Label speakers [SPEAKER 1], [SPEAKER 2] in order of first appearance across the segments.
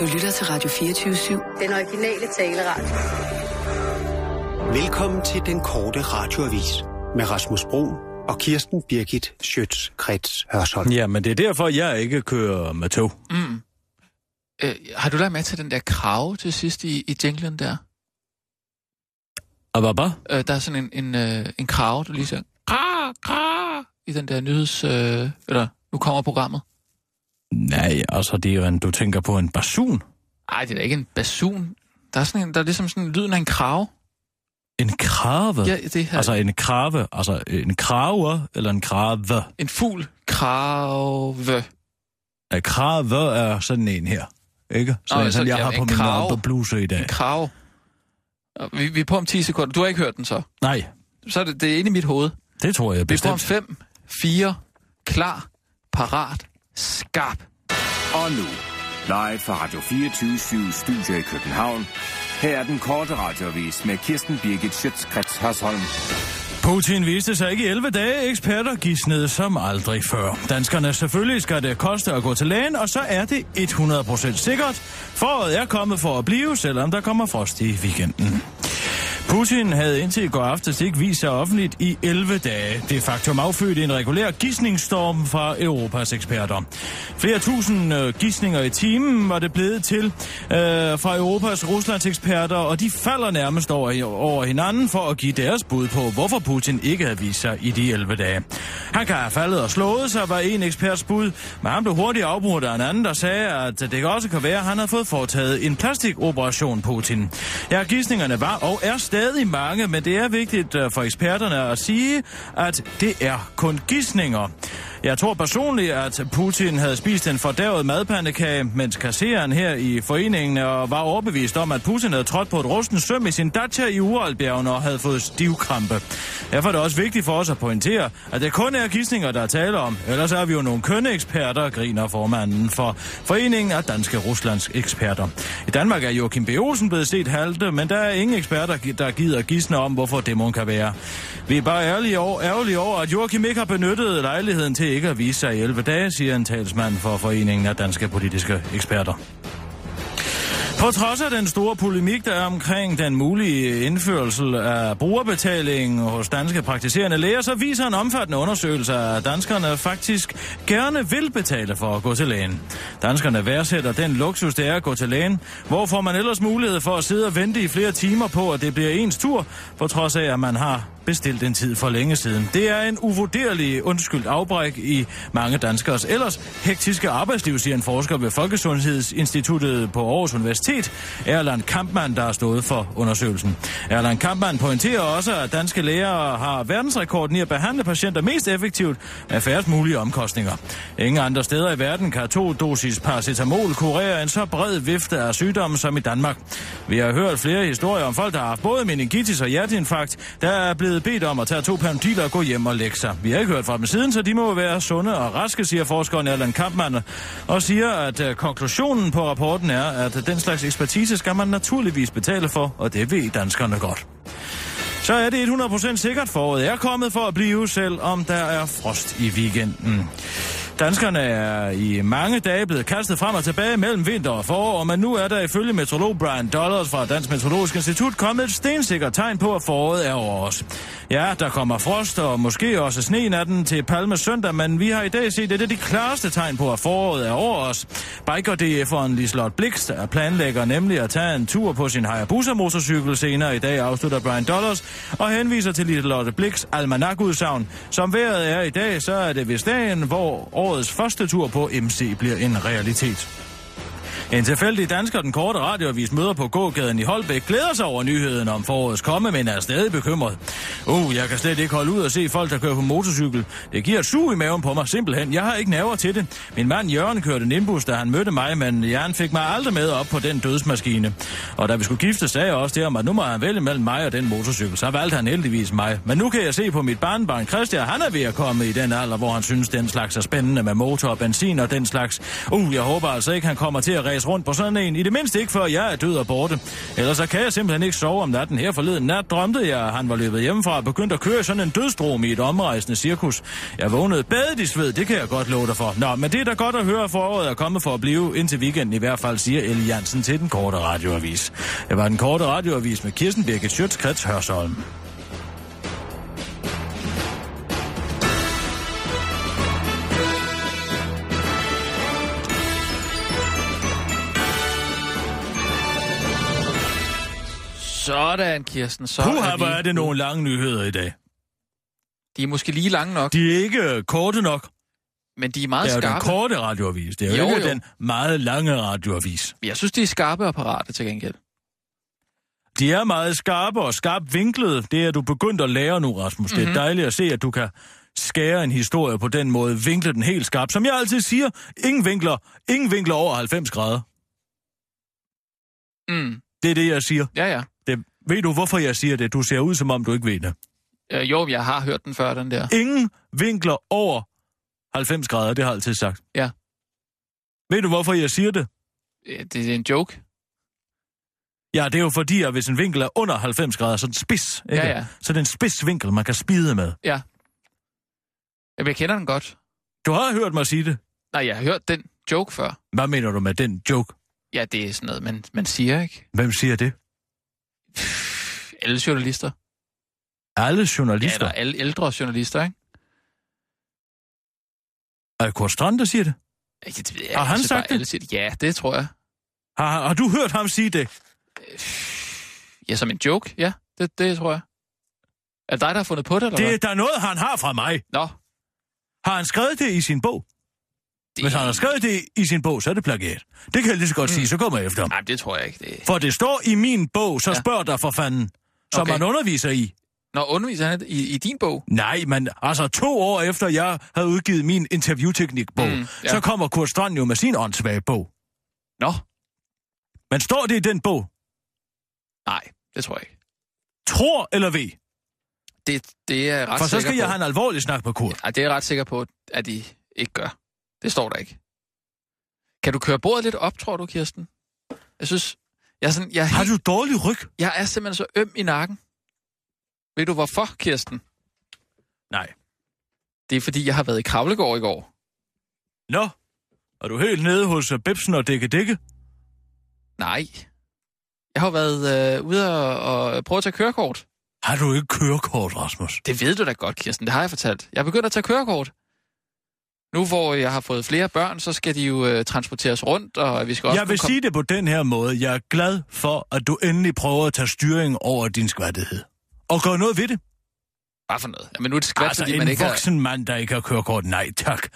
[SPEAKER 1] Du lytter til Radio 24-7.
[SPEAKER 2] Den originale taleradio.
[SPEAKER 3] Velkommen til den korte radioavis med Rasmus Bro og Kirsten Birgit Schøtz-Krets Hørsholm.
[SPEAKER 4] Ja, men det er derfor, jeg ikke kører med tog.
[SPEAKER 5] Mm. Øh, har du lagt med til den der krave til sidst i, i jinglen der?
[SPEAKER 4] Og hvad bare?
[SPEAKER 5] Øh, der er sådan en, en, øh, en krave, du lige siger, kra, kra, i den der nyheds... Øh, eller, nu kommer programmet.
[SPEAKER 4] Nej, altså det er jo en, du tænker på en basun.
[SPEAKER 5] Nej, det er da ikke en basun. Der er, sådan en, der er ligesom sådan lyden af en krave.
[SPEAKER 4] En krave?
[SPEAKER 5] Ja, det her.
[SPEAKER 4] Altså en krave, altså en krave eller en krave.
[SPEAKER 5] En fugl. Krave.
[SPEAKER 4] En krave er sådan en her, ikke? Sådan,
[SPEAKER 5] Nå,
[SPEAKER 4] en, som
[SPEAKER 5] så-
[SPEAKER 4] jeg
[SPEAKER 5] ja,
[SPEAKER 4] har
[SPEAKER 5] en
[SPEAKER 4] på min
[SPEAKER 5] krave.
[SPEAKER 4] krave. bluse i dag.
[SPEAKER 5] En krave. Og Vi, vi er på om 10 sekunder. Du har ikke hørt den så.
[SPEAKER 4] Nej,
[SPEAKER 5] Så er det, det er inde i mit hoved.
[SPEAKER 4] det tror jeg
[SPEAKER 5] Vi er på om
[SPEAKER 4] bestemt.
[SPEAKER 5] 5, 4, klar, parat, skarp.
[SPEAKER 6] Og nu, live fra Radio 24 Studio i København. Her er den korte radiovis med Kirsten Birgit Schøtzgrads Hasholm.
[SPEAKER 4] Putin viste sig ikke i 11 dage. Eksperter gidsnede som aldrig før. Danskerne selvfølgelig skal det koste at gå til lægen, og så er det 100% sikkert. Foråret er kommet for at blive, selvom der kommer frost i weekenden. Putin havde indtil i går aftes ikke vist sig offentligt i 11 dage. Det faktum affødte en regulær gissningsstorm fra Europas eksperter. Flere tusind øh, gissninger i timen var det blevet til øh, fra Europas Ruslands eksperter, og de falder nærmest over, over hinanden for at give deres bud på, hvorfor Putin ikke havde vist sig i de 11 dage. Han kan have faldet og slået sig, var en eksperts bud, men han blev hurtigt afbrudt af en anden, der sagde, at det også kan være, at han havde fået foretaget en plastikoperation, Putin. Ja, gissningerne var og er stadig mange, men det er vigtigt øh, for eksperterne at sige, at det er kun gissninger. Jeg tror personligt, at Putin havde spist en fordærvet madpandekage, mens kassereren her i foreningen øh, var overbevist om, at Putin havde trådt på et rustent søm i sin dacha i Uralbjergene og havde fået stivkrampe. Derfor er det også vigtigt for os at pointere, at det kun er gissninger, der er tale om. Ellers er vi jo nogle kønne eksperter, griner formanden for Foreningen af Danske Ruslands Eksperter. I Danmark er Joachim B. Olsen blevet set halte, men der er ingen eksperter, der gider gisne om, hvorfor demoen kan være. Vi er bare ærlige over, ærgerlige over, at Joachim ikke har benyttet lejligheden til ikke at vise sig i 11 dage, siger en talsmand for Foreningen af Danske Politiske Eksperter. På trods af den store polemik, der er omkring den mulige indførelse af brugerbetaling hos danske praktiserende læger, så viser en omfattende undersøgelse, at danskerne faktisk gerne vil betale for at gå til lægen. Danskerne værdsætter den luksus, det er at gå til lægen, hvor får man ellers mulighed for at sidde og vente i flere timer på, at det bliver ens tur, på trods af, at man har bestilt en tid for længe siden. Det er en uvurderlig undskyldt afbræk i mange danskers ellers hektiske arbejdsliv, siger en forsker ved Folkesundhedsinstituttet på Aarhus Universitet, Erland Kampmann, der har stået for undersøgelsen. Erland Kampmann pointerer også, at danske læger har verdensrekorden i at behandle patienter mest effektivt med færrest mulige omkostninger. Ingen andre steder i verden kan to dosis paracetamol kurere en så bred vifte af sygdomme som i Danmark. Vi har hørt flere historier om folk, der har haft både meningitis og hjerteinfarkt, der er blevet bedt om at tage to panodiler og gå hjem og lægge sig. Vi har ikke hørt fra dem siden, så de må være sunde og raske, siger forskeren Allan Kampmann, og siger, at øh, konklusionen på rapporten er, at den slags ekspertise skal man naturligvis betale for, og det ved danskerne godt. Så er det 100% sikkert, foråret er kommet for at blive, selvom der er frost i weekenden. Danskerne er i mange dage blevet kastet frem og tilbage mellem vinter og forår, men nu er der ifølge meteorolog Brian Dollars fra Dansk Meteorologisk Institut kommet et stensikkert tegn på, at foråret er over os. Ja, der kommer frost og måske også sne natten til Palme søndag, men vi har i dag set, at det er de klareste tegn på, at foråret er over os. Biker DF'eren Lislot Blikst er planlægger nemlig at tage en tur på sin Hayabusa-motorcykel senere i dag, afslutter Brian Dollars, og henviser til Liselotte Bliks almanakudsagn. Som vejret er i dag, så er det vist dagen, hvor årets første tur på MC bliver en realitet. En tilfældig dansker, den korte radioavis møder på gågaden i Holbæk, glæder sig over nyheden om forårets komme, men er stadig bekymret. Uh, jeg kan slet ikke holde ud og se folk, der kører på motorcykel. Det giver et sug i maven på mig, simpelthen. Jeg har ikke nerver til det. Min mand Jørgen kørte Nimbus, da han mødte mig, men Jørgen fik mig aldrig med op på den dødsmaskine. Og da vi skulle gifte, sagde jeg også til ham, at nu må han vælge mellem mig og den motorcykel. Så valgte han heldigvis mig. Men nu kan jeg se på mit barnbarn Christian, han er ved at komme i den alder, hvor han synes, den slags er spændende med motor og benzin og den slags. Uh, jeg håber altså ikke, han kommer til at slæs rundt på sådan en, i det mindste ikke før jeg er død og borte. Ellers så kan jeg simpelthen ikke sove om natten. Her forleden nat drømte jeg, at han var løbet hjemmefra og begyndt at køre i sådan en dødsdrom i et omrejsende cirkus. Jeg vågnede badet i sved, det kan jeg godt love dig for. Nå, men det er da godt at høre, at foråret er kommet for at blive indtil weekenden i hvert fald, siger Ellie Jansen til den korte radioavis. Det var den korte radioavis med Kirsten Birgit Schøtzgrads Hørsholm.
[SPEAKER 5] Sådan, Kirsten. Så
[SPEAKER 4] Puha, hvor
[SPEAKER 5] vi
[SPEAKER 4] er det
[SPEAKER 5] ude.
[SPEAKER 4] nogle lange nyheder i dag.
[SPEAKER 5] De er måske lige lange nok,
[SPEAKER 4] De er ikke øh, korte nok.
[SPEAKER 5] men de er meget
[SPEAKER 4] Det er jo den
[SPEAKER 5] skarpe.
[SPEAKER 4] korte radioavis. Det er jo,
[SPEAKER 5] Jo,
[SPEAKER 4] jo ikke
[SPEAKER 5] jo.
[SPEAKER 4] den meget lange radioavis.
[SPEAKER 5] Jeg synes, de er skarpe og parate til gengæld.
[SPEAKER 4] De er meget skarpe og skarpt vinklede. Det er du begyndt at lære nu, Rasmus.
[SPEAKER 5] Mhm.
[SPEAKER 4] Mm-hmm. Det er dejligt at se, at du kan skære en historie på den måde, vinkle den helt skarpt. Som jeg altid siger, ingen vinkler, ingen vinkler over 90 grader.
[SPEAKER 5] Mm.
[SPEAKER 4] Det er det, jeg siger.
[SPEAKER 5] Ja, ja.
[SPEAKER 4] Det, ved du, hvorfor jeg siger det? Du ser ud, som om du ikke ved det.
[SPEAKER 5] Øh, jo, jeg har hørt den før, den der.
[SPEAKER 4] Ingen vinkler over 90 grader, det har jeg altid sagt.
[SPEAKER 5] Ja.
[SPEAKER 4] Ved du, hvorfor jeg siger det?
[SPEAKER 5] Øh, Det er en joke.
[SPEAKER 4] Ja, det er jo fordi, at hvis en vinkel er under 90 grader, så er den spids. Ikke?
[SPEAKER 5] Ja, ja.
[SPEAKER 4] Så er det en spids vinkel, man kan spide med.
[SPEAKER 5] Ja. Jamen, jeg kender den godt.
[SPEAKER 4] Du har hørt mig sige det.
[SPEAKER 5] Nej, jeg har hørt den joke før.
[SPEAKER 4] Hvad mener du med den joke?
[SPEAKER 5] Ja, det er sådan noget, man, man siger, ikke?
[SPEAKER 4] Hvem siger det?
[SPEAKER 5] Alle journalister.
[SPEAKER 4] Alle
[SPEAKER 5] Ja,
[SPEAKER 4] journalister.
[SPEAKER 5] eller alle ældre journalister, ikke?
[SPEAKER 4] er det Kurt Strand, der siger det?
[SPEAKER 5] Ja, det ved jeg
[SPEAKER 4] Har
[SPEAKER 5] ikke.
[SPEAKER 4] han
[SPEAKER 5] Altså,
[SPEAKER 4] sagt
[SPEAKER 5] bare
[SPEAKER 4] det?
[SPEAKER 5] alle siger, ja, det tror jeg.
[SPEAKER 4] Har, har du hørt ham sige det?
[SPEAKER 5] Ja, som en joke, ja. Det, det tror jeg. Er det dig, der har fundet på det, eller
[SPEAKER 4] Det
[SPEAKER 5] hvad?
[SPEAKER 4] er der noget, han har fra mig.
[SPEAKER 5] Nå.
[SPEAKER 4] Har han skrevet det i sin bog?
[SPEAKER 5] Det... Mm.
[SPEAKER 4] Hvis han har skrevet det i sin bog, så er det plagiat. Det kan jeg lige så godt sige, så kommer jeg efter ham.
[SPEAKER 5] Nej, det tror jeg ikke. Det...
[SPEAKER 4] For det står i min bog, så
[SPEAKER 5] Ja.
[SPEAKER 4] spørg dig for fanden, som
[SPEAKER 5] Okay.
[SPEAKER 4] man underviser i.
[SPEAKER 5] Nå, underviser han i, i din bog?
[SPEAKER 4] Nej, men altså to år efter jeg havde udgivet min interviewteknikbog,
[SPEAKER 5] Mm,
[SPEAKER 4] mm,
[SPEAKER 5] ja.
[SPEAKER 4] ja. så kommer Kurt Strand jo med sin åndssvage bog.
[SPEAKER 5] Nå,
[SPEAKER 4] Men står det i den bog?
[SPEAKER 5] nej, det tror jeg ikke.
[SPEAKER 4] Tror eller ved?
[SPEAKER 5] Det, det er jeg ret
[SPEAKER 4] For så
[SPEAKER 5] sikker
[SPEAKER 4] skal
[SPEAKER 5] på.
[SPEAKER 4] jeg have en alvorlig snak med Kurt.
[SPEAKER 5] Ej, det er jeg ret sikker på, at de ikke gør. Det står der ikke. Kan du køre bordet lidt op, tror du, Kirsten? Jeg synes, jeg er, sådan, jeg, er
[SPEAKER 4] Har
[SPEAKER 5] helt,
[SPEAKER 4] du dårlig ryg?
[SPEAKER 5] jeg er simpelthen så øm i nakken. Ved du hvorfor, Kirsten?
[SPEAKER 4] Nej.
[SPEAKER 5] Det er fordi, jeg har været i Kravlegård i går.
[SPEAKER 4] Nå, er du helt nede hos øh, Bebsen og Dække Dække?
[SPEAKER 5] Nej. Jeg har været øh, ude og, og prøve at tage kørekort.
[SPEAKER 4] Har du ikke kørekort, Rasmus?
[SPEAKER 5] Det ved du da godt, Kirsten. Det har jeg fortalt. Jeg er begyndt at tage kørekort. Nu hvor jeg har fået flere børn, så skal de jo øh, transporteres rundt, og vi skal også
[SPEAKER 4] Jeg
[SPEAKER 5] kunne
[SPEAKER 4] vil
[SPEAKER 5] komme-
[SPEAKER 4] sige det på den her måde. Jeg er glad for, at du endelig prøver at tage styring over din skvattighed. Og gør noget ved det.
[SPEAKER 5] Hvad for noget? Men nu er det skvæt,
[SPEAKER 4] Altså
[SPEAKER 5] Ah, fordi
[SPEAKER 4] en
[SPEAKER 5] man ikke har-
[SPEAKER 4] voksen har... mand, der ikke har kørekort. Nej, tak.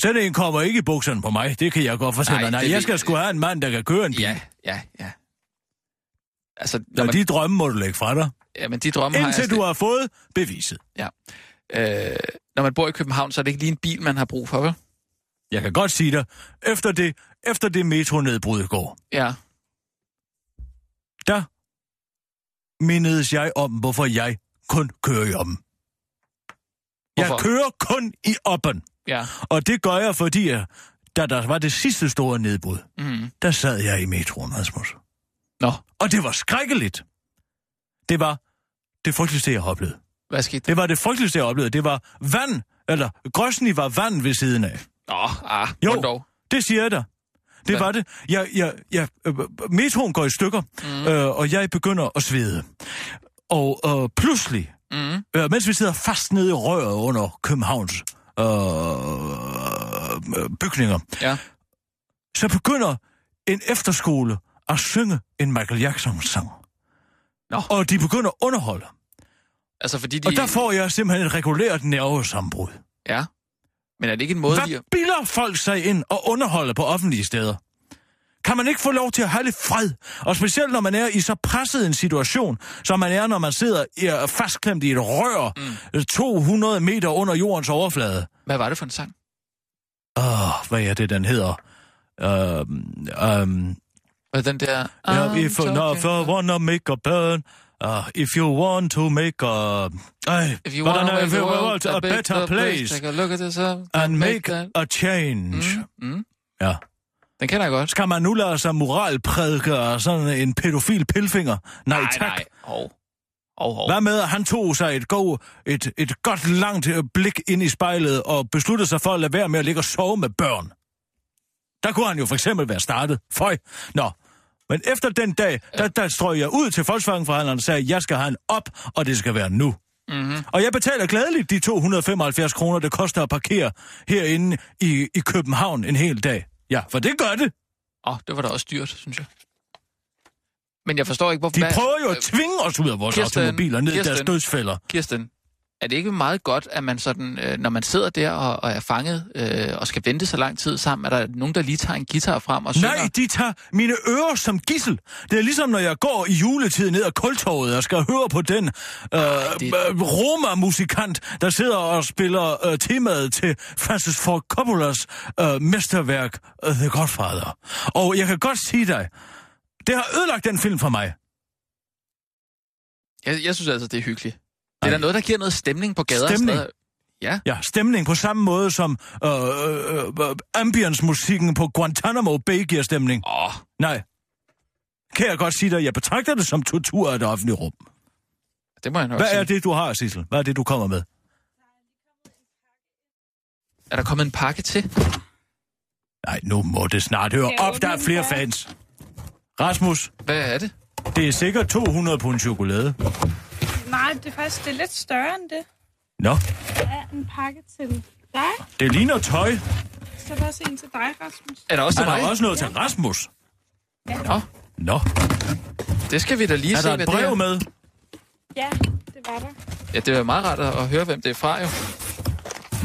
[SPEAKER 4] Sådan en kommer ikke i bukserne på mig. Det kan jeg godt fortælle
[SPEAKER 5] Nej,
[SPEAKER 4] dig. Nej,
[SPEAKER 5] det
[SPEAKER 4] jeg
[SPEAKER 5] ved-
[SPEAKER 4] skal sgu have en mand, der kan køre en bil.
[SPEAKER 5] Ja, ja, ja. Altså, når
[SPEAKER 4] Når
[SPEAKER 5] man,
[SPEAKER 4] de drømme må du lægge fra dig,
[SPEAKER 5] ja, men de drømme har jeg
[SPEAKER 4] indtil
[SPEAKER 5] slet-
[SPEAKER 4] du har fået beviset.
[SPEAKER 5] øh, når man bor i København, så er det ikke lige en bil, man har brug for, vel?
[SPEAKER 4] Jeg kan godt sige dig, efter det, efter det metronedbrud i går,
[SPEAKER 5] Ja.
[SPEAKER 4] der mindedes jeg om, hvorfor jeg kun kører i oppen. Jeg
[SPEAKER 5] Hvorfor?
[SPEAKER 4] kører kun i oppen.
[SPEAKER 5] Ja.
[SPEAKER 4] Og det gør jeg, fordi jeg, da der var det sidste store nedbrud,
[SPEAKER 5] Mm.
[SPEAKER 4] der sad jeg i metroen, Rasmus.
[SPEAKER 5] Nå,
[SPEAKER 4] Og det var skrækkeligt. Det var det frygteligste, jeg oplevede.
[SPEAKER 5] hvad skete der?
[SPEAKER 4] Det var det frygteligste, jeg oplevede. Det var vand, eller grøsny var vand ved siden af.
[SPEAKER 5] Nå, ah,
[SPEAKER 4] Jo.
[SPEAKER 5] jo. dog.
[SPEAKER 4] Det siger jeg dig. Det
[SPEAKER 5] Hvad?
[SPEAKER 4] var det. Jeg, jeg, jeg, øh, metroen går i stykker, mm. øh, og jeg begynder at svede. Og øh, pludselig,
[SPEAKER 5] Mm.
[SPEAKER 4] øh, mens vi sidder fast nede i røret under Københavns øh, øh, bygninger,
[SPEAKER 5] Ja.
[SPEAKER 4] så begynder en efterskole at synge en Michael Jackson-sang.
[SPEAKER 5] Nå.
[SPEAKER 4] Og de begynder at underholde.
[SPEAKER 5] Altså, fordi de...
[SPEAKER 4] Og der får jeg simpelthen et regulært nervesambrud.
[SPEAKER 5] Ja. Men er det ikke en måde, de...
[SPEAKER 4] Hvad bilder folk sig ind og underholder på offentlige steder? Kan man ikke få lov til at have lidt fred? Og specielt når man er i så presset en situation, som man er, når man sidder i- er fastklemt i et rør mm. 200 meter under jordens overflade.
[SPEAKER 5] Hvad var det for en sang?
[SPEAKER 4] Åh, oh, hvad er det, den hedder? Øhm, øhm,
[SPEAKER 5] Hvad den der...
[SPEAKER 4] yeah,
[SPEAKER 5] I'm
[SPEAKER 4] if, no, if you
[SPEAKER 5] talking-
[SPEAKER 4] wanna make a burn, uh, if you want to make a... Ej,
[SPEAKER 5] If you
[SPEAKER 4] hvordan
[SPEAKER 5] wanna
[SPEAKER 4] er-
[SPEAKER 5] make
[SPEAKER 4] if
[SPEAKER 5] the
[SPEAKER 4] you
[SPEAKER 5] world a better place, take a look at this, uh,
[SPEAKER 4] and make
[SPEAKER 5] that-
[SPEAKER 4] a change.
[SPEAKER 5] Mm.
[SPEAKER 4] Ja.
[SPEAKER 5] Den kender jeg godt.
[SPEAKER 4] Skal man nu lade sig moralprædike og sådan en pædofil pilfinger? Nej, nej tak.
[SPEAKER 5] nej. Hov. Hov, hov.
[SPEAKER 4] Hvad med, at han tog sig et, god, et, et godt langt øh, blik ind i spejlet og besluttede sig for at lade være med at ligge og sove med børn? Der kunne han jo for eksempel være startet. Føj. Nå. Men efter den dag, der, der strøg jeg ud til Volkswagen-forhandleren og sagde, at jeg skal have en op, og det skal være nu. Mm-hmm. Og jeg betaler glædeligt de 275 kroner, det koster at parkere herinde i, i København en hel dag. Ja, for det gør det.
[SPEAKER 5] Åh, oh, det var da også dyrt, synes jeg. Men jeg forstår ikke, hvorfor...
[SPEAKER 4] De
[SPEAKER 5] hvad-
[SPEAKER 4] prøver jo at
[SPEAKER 5] øh,
[SPEAKER 4] tvinge os ud af vores
[SPEAKER 5] Kirsten,
[SPEAKER 4] automobiler ned i deres
[SPEAKER 5] Kirsten.
[SPEAKER 4] dødsfælder.
[SPEAKER 5] Kirsten, er det ikke meget godt, at man sådan, øh, når man sidder der og, og er fanget øh, og skal vente så lang tid sammen, at der er nogen, der lige tager en guitar frem og synger?
[SPEAKER 4] Nej, de tager mine ører som gissel. Det er ligesom, når jeg går i juletid ned ad kultoget og skal høre på den øh,
[SPEAKER 5] Ah, det-
[SPEAKER 4] øh, Roma-musikant, der sidder og spiller øh, temaet til Francis Ford Coppolas øh, mesterværk øh, The Godfather. Og jeg kan godt sige dig, det har ødelagt den film for mig.
[SPEAKER 5] Jeg, jeg synes altså, det er hyggeligt. Det er da noget, der giver noget stemning på gader
[SPEAKER 4] Stemning?
[SPEAKER 5] og stræder. Ja,
[SPEAKER 4] Ja, stemning på samme måde som øh, øh, øh, ambience-musikken på Guantanamo Bay giver stemning.
[SPEAKER 5] åh, oh,
[SPEAKER 4] Nej. Kan jeg godt sige dig, jeg betragter det som tortur af det offentlige rum.
[SPEAKER 5] det må jeg nok
[SPEAKER 4] Hvad
[SPEAKER 5] sige.
[SPEAKER 4] er det, du har, Sissel? Hvad er det, du kommer med?
[SPEAKER 5] er der kommet en pakke til?
[SPEAKER 4] Nej, nu må det snart høre op. Der er flere fans. Rasmus,
[SPEAKER 5] Hvad er det?
[SPEAKER 4] det er sikkert 200 pund chokolade.
[SPEAKER 2] Nej, det er faktisk det er lidt større end det.
[SPEAKER 4] Nå,
[SPEAKER 2] Der er en pakke til dig,
[SPEAKER 4] det ligner tøj.
[SPEAKER 2] så er der også en til dig, Rasmus.
[SPEAKER 5] Er der også
[SPEAKER 4] Er
[SPEAKER 5] til mig?
[SPEAKER 4] der også noget til Rasmus?
[SPEAKER 5] Nå,
[SPEAKER 4] Nå,
[SPEAKER 5] det skal vi da lige
[SPEAKER 4] er
[SPEAKER 5] se,
[SPEAKER 4] der
[SPEAKER 5] hvad
[SPEAKER 4] et
[SPEAKER 5] det er.
[SPEAKER 4] brev med?
[SPEAKER 2] Ja, det var der.
[SPEAKER 5] Ja, det er meget rart at at høre, hvem det er fra, jo.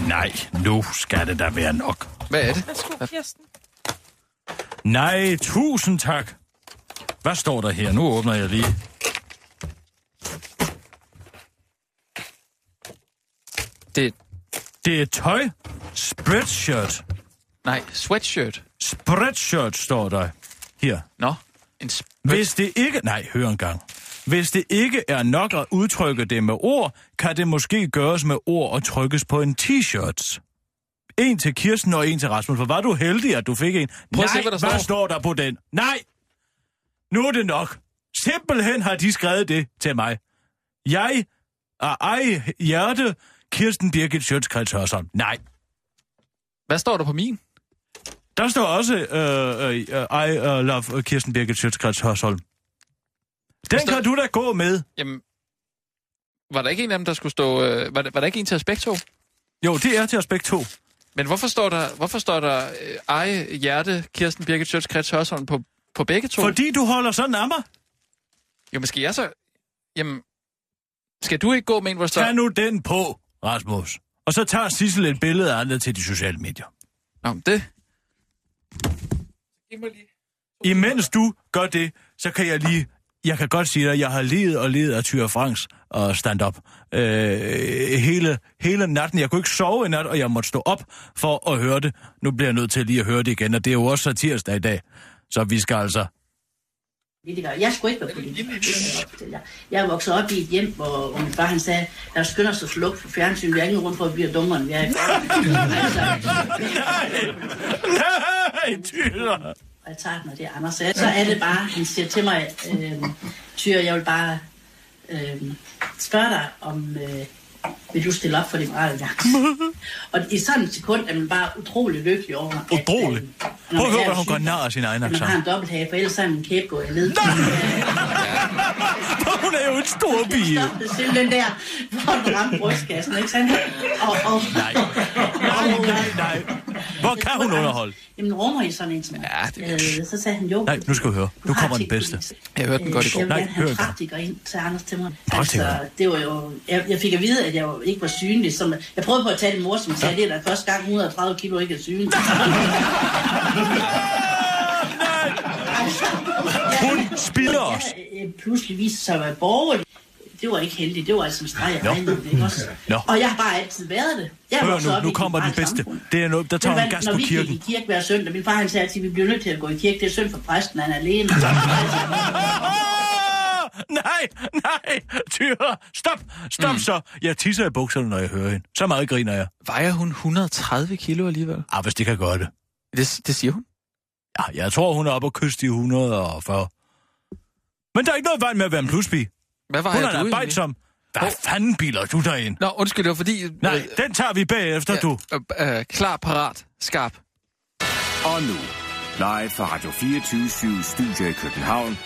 [SPEAKER 4] Nej, nu skal det da være nok.
[SPEAKER 5] Hvad er det?
[SPEAKER 2] Værsgo, Kirsten.
[SPEAKER 4] Nej, tusind tak. Hvad står der her? Nu åbner jeg lige.
[SPEAKER 5] Det
[SPEAKER 4] Det er tøj. Spreadshirt.
[SPEAKER 5] nej, sweatshirt.
[SPEAKER 4] Spreadshirt står der her.
[SPEAKER 5] Nå, en sp-
[SPEAKER 4] Hvis det ikke... Nej, hør en gang. Hvis det ikke er nok at udtrykke det med ord, kan det måske gøres med ord og trykkes på en t-shirt. En til Kirsten og en til Rasmus. For var du heldig, at du fik en?
[SPEAKER 5] Prøv
[SPEAKER 4] Nej,
[SPEAKER 5] at se, hvad der
[SPEAKER 4] hvad
[SPEAKER 5] står.
[SPEAKER 4] står der på den? Nej! Nu er det nok. Simpelthen har de skrevet det til mig. Jeg er ej hjerte Kirsten Birgit Sjøtskreds Hørsholm. Nej.
[SPEAKER 5] Hvad står der på min?
[SPEAKER 4] Der står også øh, øh, I øh, love Kirsten Birgit Sjøtskreds Hørsholm. Den
[SPEAKER 5] står-
[SPEAKER 4] kan du da gå med.
[SPEAKER 5] Jamen, var der ikke en af dem, der skulle stå... Øh, var, der, var der ikke en til Aspekto?
[SPEAKER 4] Jo, det er til aspekt 2.
[SPEAKER 5] Men hvorfor står der, hvorfor står der øh, ej, hjerte, Kirsten Birgit Sjøts Krets Hørsholm på, på begge to?
[SPEAKER 4] Fordi du holder sådan af mig.
[SPEAKER 5] Jo, men skal jeg så... Jamen, skal du ikke gå med en, hvor der står...
[SPEAKER 4] Tag nu den på, Rasmus. Og så tager Sissel et billede af andet til de sociale medier.
[SPEAKER 5] Nå, men det... Giv mig lige.
[SPEAKER 4] Imens du gør det, så kan jeg lige... Jeg kan godt sige dig, at jeg har levet og levet af Tyre Franks og stand-up øh, hele, hele natten. Jeg kunne ikke sove i nat, og jeg måtte stå op for at høre det. Nu bliver jeg nødt til lige at høre det igen, og det er jo også satirsdag i dag. Så vi skal altså...
[SPEAKER 7] politiker. Jeg skulle ikke være politiker. Det kan jeg godt fortælle jer. Jeg er vokset op i et hjem, hvor, hvor min far han sagde, lad os skynde os at slukke for fjernsyn. Vi er ikke rundt for, at vi bliver dummere, end vi er i forvejen." altså,
[SPEAKER 4] Nej, Tyre!
[SPEAKER 7] og jeg tager den, og det er Anders. Så så er det bare, han siger til mig, øh, Tyre, jeg vil bare øh, spørge dig, om øh, vil du stille op for Liberale Alliance? og i sådan et sekund er man bare utrolig lykkelig over, at... øh,
[SPEAKER 4] Utrolig.
[SPEAKER 7] når man
[SPEAKER 4] Prøv at høre,
[SPEAKER 7] er
[SPEAKER 4] hvad hun
[SPEAKER 7] syg,
[SPEAKER 4] gør nar af sin egen
[SPEAKER 7] at Man
[SPEAKER 4] accent.
[SPEAKER 7] har en dobbelthage, for ellers er min kæbe gået i led.
[SPEAKER 4] Hun er jo en stor bil.
[SPEAKER 7] stoppede simpelthen der, hvor den ramte brystkassen, ikke sandt? Og, og,
[SPEAKER 4] Nej. Nej, nej, nej. Hvor kan hun underholde?
[SPEAKER 7] Jamen, rummer I sådan en som mig?
[SPEAKER 5] Ja, det-
[SPEAKER 7] øh, så sagde han, jo.
[SPEAKER 4] Nej, nu skal vi høre.
[SPEAKER 7] du
[SPEAKER 4] Nu
[SPEAKER 7] har
[SPEAKER 4] kommer den
[SPEAKER 7] set
[SPEAKER 4] bedste.
[SPEAKER 7] bevis.
[SPEAKER 5] Jeg hørte den
[SPEAKER 7] Øh,
[SPEAKER 5] godt i går.
[SPEAKER 7] Jeg
[SPEAKER 4] Nej,
[SPEAKER 7] vil gerne have
[SPEAKER 4] hør
[SPEAKER 7] en
[SPEAKER 4] den.
[SPEAKER 7] praktiker ind til Anders til mig.
[SPEAKER 4] Praktiker?
[SPEAKER 7] Altså, det var jo... Jeg, jeg fik at vide, at jeg jo ikke var synlig. Som, jeg prøvede på at tage det mor, som sagde, det er da første gang 130 kilo ikke er synlig. Altså,
[SPEAKER 4] Hun spiller os.
[SPEAKER 7] Jeg, øh, pludselig viste sig at være borgerlig. Det var ikke heldigt. Det var altså en streg af
[SPEAKER 4] Nå.
[SPEAKER 7] regningen, ikke også?
[SPEAKER 4] Nå.
[SPEAKER 7] Og jeg har bare altid været det. Jeg er
[SPEAKER 4] Hør
[SPEAKER 7] vokset op
[SPEAKER 4] nu,
[SPEAKER 7] i
[SPEAKER 4] nu
[SPEAKER 7] et
[SPEAKER 4] kommer den
[SPEAKER 7] liberalt
[SPEAKER 4] bedste.
[SPEAKER 7] samfund.
[SPEAKER 4] Det er noget, der tager
[SPEAKER 7] Ved du
[SPEAKER 4] hun
[SPEAKER 7] hvad,
[SPEAKER 4] gas
[SPEAKER 7] når
[SPEAKER 4] på
[SPEAKER 7] vi gik
[SPEAKER 4] kirken.
[SPEAKER 7] i kirke hver søndag, min far han sagde altid, at vi bliver nødt til at gå i kirke, det er synd for præsten, han er alene.
[SPEAKER 4] Nej, nej, Tyre, stop, stop mm. så. Jeg tisser i bukserne, når jeg hører hende. Så meget griner jeg.
[SPEAKER 5] Vejer hun 130 kilo alligevel?
[SPEAKER 4] Ah, hvis det kan gøre det.
[SPEAKER 5] Det, det siger hun.
[SPEAKER 4] Ja, jeg tror, hun er oppe og kyste i 140. Men der er ikke noget vej med at være en plusbi.
[SPEAKER 5] Hvad var
[SPEAKER 4] Hun
[SPEAKER 5] jeg,
[SPEAKER 4] er
[SPEAKER 5] du
[SPEAKER 4] en
[SPEAKER 5] egentlig?
[SPEAKER 4] arbejdsom. Hvad fanden biler du derind?
[SPEAKER 5] Nå, undskyld, det var fordi...
[SPEAKER 4] Nej, den tager vi bagefter,
[SPEAKER 5] ja,
[SPEAKER 4] du.
[SPEAKER 5] Øh, øh, klar, parat, skarp.
[SPEAKER 6] Og nu, live fra Radio 24 Studio i København.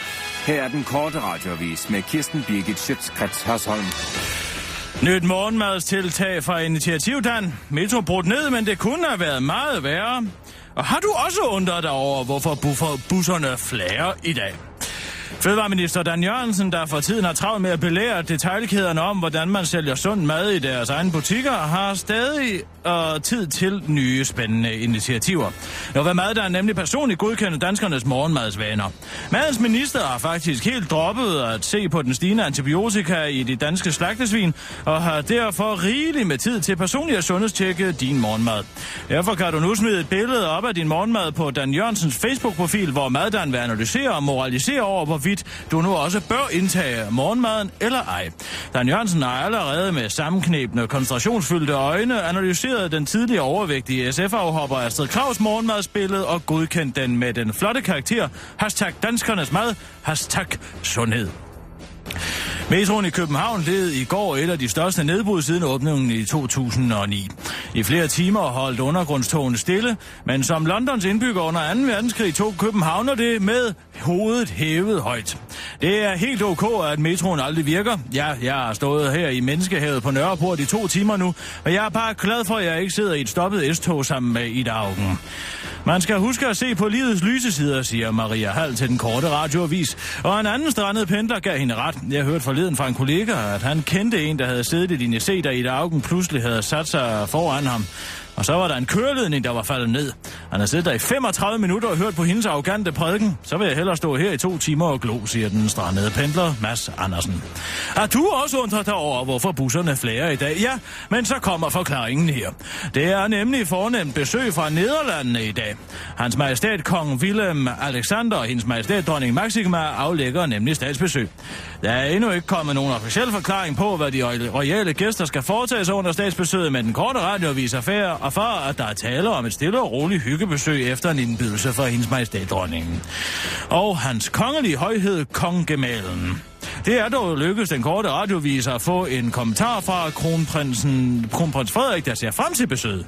[SPEAKER 6] Her er den korte radiovis med Kirsten Birgit Schøtzgrads Hasholm.
[SPEAKER 4] Nyt morgenmadstiltag fra Initiativ Dan. Metro brudt ned, men det kunne have været meget værre. Og har du også undret dig over, hvorfor buffer busserne flager i dag? Fødevareminister Dan Jørgensen, der for tiden har travlt med at belære detaljkæderne om, hvordan man sælger sund mad i deres egne butikker, har stadig øh, tid til nye spændende initiativer. Nova Mad, der er nemlig personligt godkendt danskernes morgenmadsvaner. Madens minister har faktisk helt droppet at se på den stigende antibiotika i de danske slagtesvin, og har derfor rigeligt med tid til personligt at sundhedstjekke din morgenmad. Derfor kan du nu smide et billede op af din morgenmad på Dan Jørgensens Facebook-profil, hvor maddan vil analysere og moralisere over, hvorvidt du nu også bør indtage morgenmaden eller ej. Dan Jørgensen har allerede med sammenknebende, koncentrationsfyldte øjne analyseret den tidligere overvægtige SF-afhopper Astrid Kravs morgenmadsbillede og godkendt den med den flotte karakter hashtag danskernes mad, hashtag sundhed. Metroen i København led i går et af de største nedbrud siden åbningen i 2009. I flere timer holdt undergrundstogen stille, men som Londons indbygger under 2. verdenskrig tog Københavner det med hovedet hævet højt. Det er helt ok, at metroen aldrig virker. Ja, jeg har stået her i Menneskehavet på Nørreport i to timer nu, og jeg er bare glad for, at jeg ikke sidder i et stoppet S-tog sammen med Ida Augen. Man skal huske at se på livets lyse sider, siger Maria Hall til den korte radioavis. Og en anden strandet pendler gav hende ret. Jeg hørte forleden fra en kollega, at han kendte en, der havde siddet i linje C, da Ida Augen pludselig havde sat sig foran ham. Og så var der en køreledning, der var faldet ned. Han har siddet der i 35 minutter og hørt på hendes arrogante prædiken. Så vil jeg hellere stå her i to timer og glo, siger den strandede pendler Mads Andersen. Har du også undret dig over, hvorfor busserne flager i dag? Ja, men så kommer forklaringen her. Det er nemlig fornemt besøg fra Nederlandene i dag. Hans majestæt kong Willem Alexander og hendes majestæt dronning Maxima aflægger nemlig statsbesøg. Der er endnu ikke kommet nogen officiel forklaring på, hvad de royale gæster skal foretage sig under statsbesøget, men den korte radioavis er færre og for, at der er tale om et stille og roligt hyggebesøg efter en indbydelse fra hendes majestæt dronningen. Og hans kongelige højhed, kongemalen. Det er dog lykkedes den korte radiovis at få en kommentar fra kronprinsen, kronprins Frederik, der ser frem til besøget.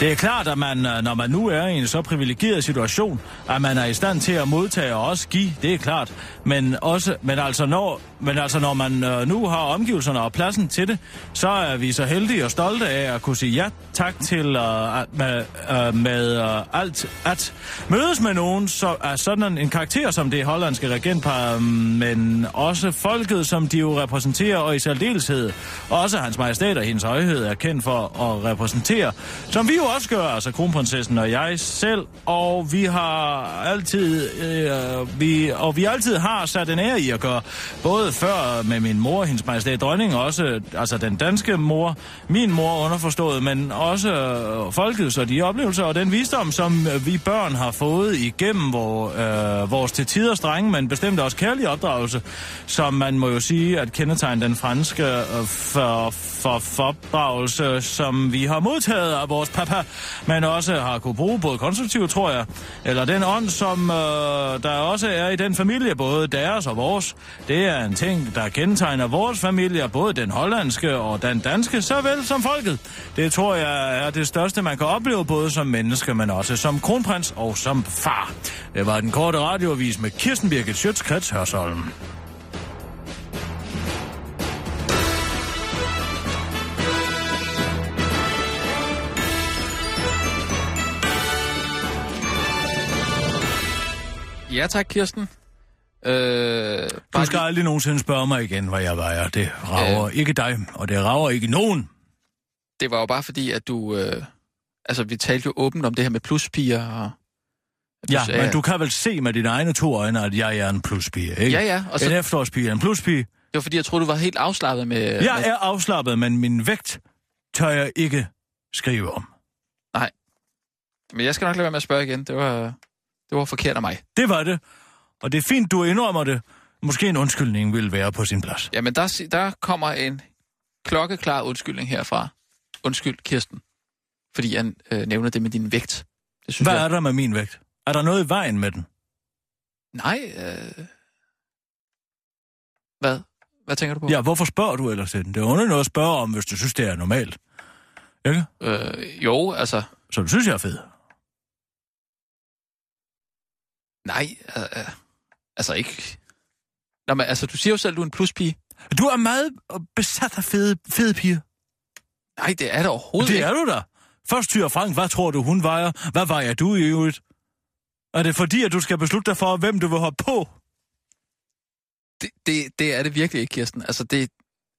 [SPEAKER 4] Det er klart, at man, øh, når man nu er i en så privilegeret situation, at man er i stand til at modtage og også give, det er klart. Men, også, men, altså, når, men altså, når man øh, nu har omgivelserne og pladsen til det, så er vi så heldige og stolte af at kunne sige ja tak til øh, at- med, øh, med øh, alt at mødes med nogen så, af sådan en karakter som det hollandske regentpar, øh, men også folket, som de jo repræsenterer, og i særdeleshed også hans majestæt og hendes højhed er kendt for at repræsentere, som vi jo også gør, altså kronprinsessen og jeg selv, og vi har altid, øh, vi, og vi altid har sat en ære i at gøre, både før med min mor, hendes majestæt dronning, og også altså den danske mor, min mor underforstået, men også øh, folkets og de oplevelser og den visdom, som øh, vi børn har fået igennem vor, øh, vores til tider strenge, men bestemt også kærlige opdragelse, som man må jo sige, at kendetegn den franske øh, for, for, fordragelse, som vi har modtaget af vores papa, men også har kunne bruge både konstruktivt, tror jeg, eller den ånd, som øh, der også er i den familie, både deres og vores. Det er en ting, der kendetegner vores familier, både den hollandske og den danske, såvel som folket. Det tror jeg er det største, man kan opleve, både som menneske, men også som kronprins og som far. Det var den korte radioavis med Kirsten Birgit Schøtzgrads Hørsholm.
[SPEAKER 5] Ja tak, Kirsten. Øh,
[SPEAKER 4] Du
[SPEAKER 5] bare
[SPEAKER 4] skal aldrig nogensinde spørge mig igen, hvad jeg vejer. Det rager øh. ikke dig, og det rager ikke nogen.
[SPEAKER 5] lige- det var jo bare fordi, at du... Øh, altså, vi talte jo åbent om det her med pluspiger og...
[SPEAKER 4] Ja,
[SPEAKER 5] sagde,
[SPEAKER 4] men
[SPEAKER 5] at-
[SPEAKER 4] du kan vel se med dine egne to øjne, at jeg er en pluspige, ikke?
[SPEAKER 5] Ja, ja, og
[SPEAKER 4] Og så... En
[SPEAKER 5] så,
[SPEAKER 4] efterårspige er en pluspige.
[SPEAKER 5] det var fordi, jeg troede, du var helt afslappet med...
[SPEAKER 4] Jeg
[SPEAKER 5] med,
[SPEAKER 4] er afslappet, men min vægt tør jeg ikke skrive om.
[SPEAKER 5] Men jeg skal nok lade være med at spørge igen. Det var, det var forkert af mig.
[SPEAKER 4] Det var det, og det er fint, du indrømmer det. Måske en undskyldning ville være på sin plads.
[SPEAKER 5] Jamen, der, si- der kommer en klokkeklar undskyldning herfra. Undskyld, Kirsten. Fordi han øh, nævner det med din vægt. Det synes
[SPEAKER 4] Hvad
[SPEAKER 5] jeg,
[SPEAKER 4] er der med min vægt? Er der noget i vejen med den?
[SPEAKER 5] Nej, øh... Hvad? Hvad tænker du på?
[SPEAKER 4] Ja, hvorfor spørger du ellers til den? Det er underligt noget at spørge om, hvis du synes, det er normalt. Ikke?
[SPEAKER 5] Øh, jo, altså...
[SPEAKER 4] Så du synes, jeg er fed.
[SPEAKER 5] Nej, øh, øh, altså ikke... Nå, men altså, du siger jo selv, at du er en pluspige.
[SPEAKER 4] Du er meget besat af fede, fede piger.
[SPEAKER 5] Nej, det er det overhovedet
[SPEAKER 4] Det
[SPEAKER 5] ikke.
[SPEAKER 4] er du da. Først Tyre Frank, hvad tror du, hun vejer? Hvad vejer du i øvrigt? Er det fordi, at du skal beslutte dig for, hvem du vil hoppe på?
[SPEAKER 5] Det, det, det er det virkelig ikke, Kirsten. Altså, det...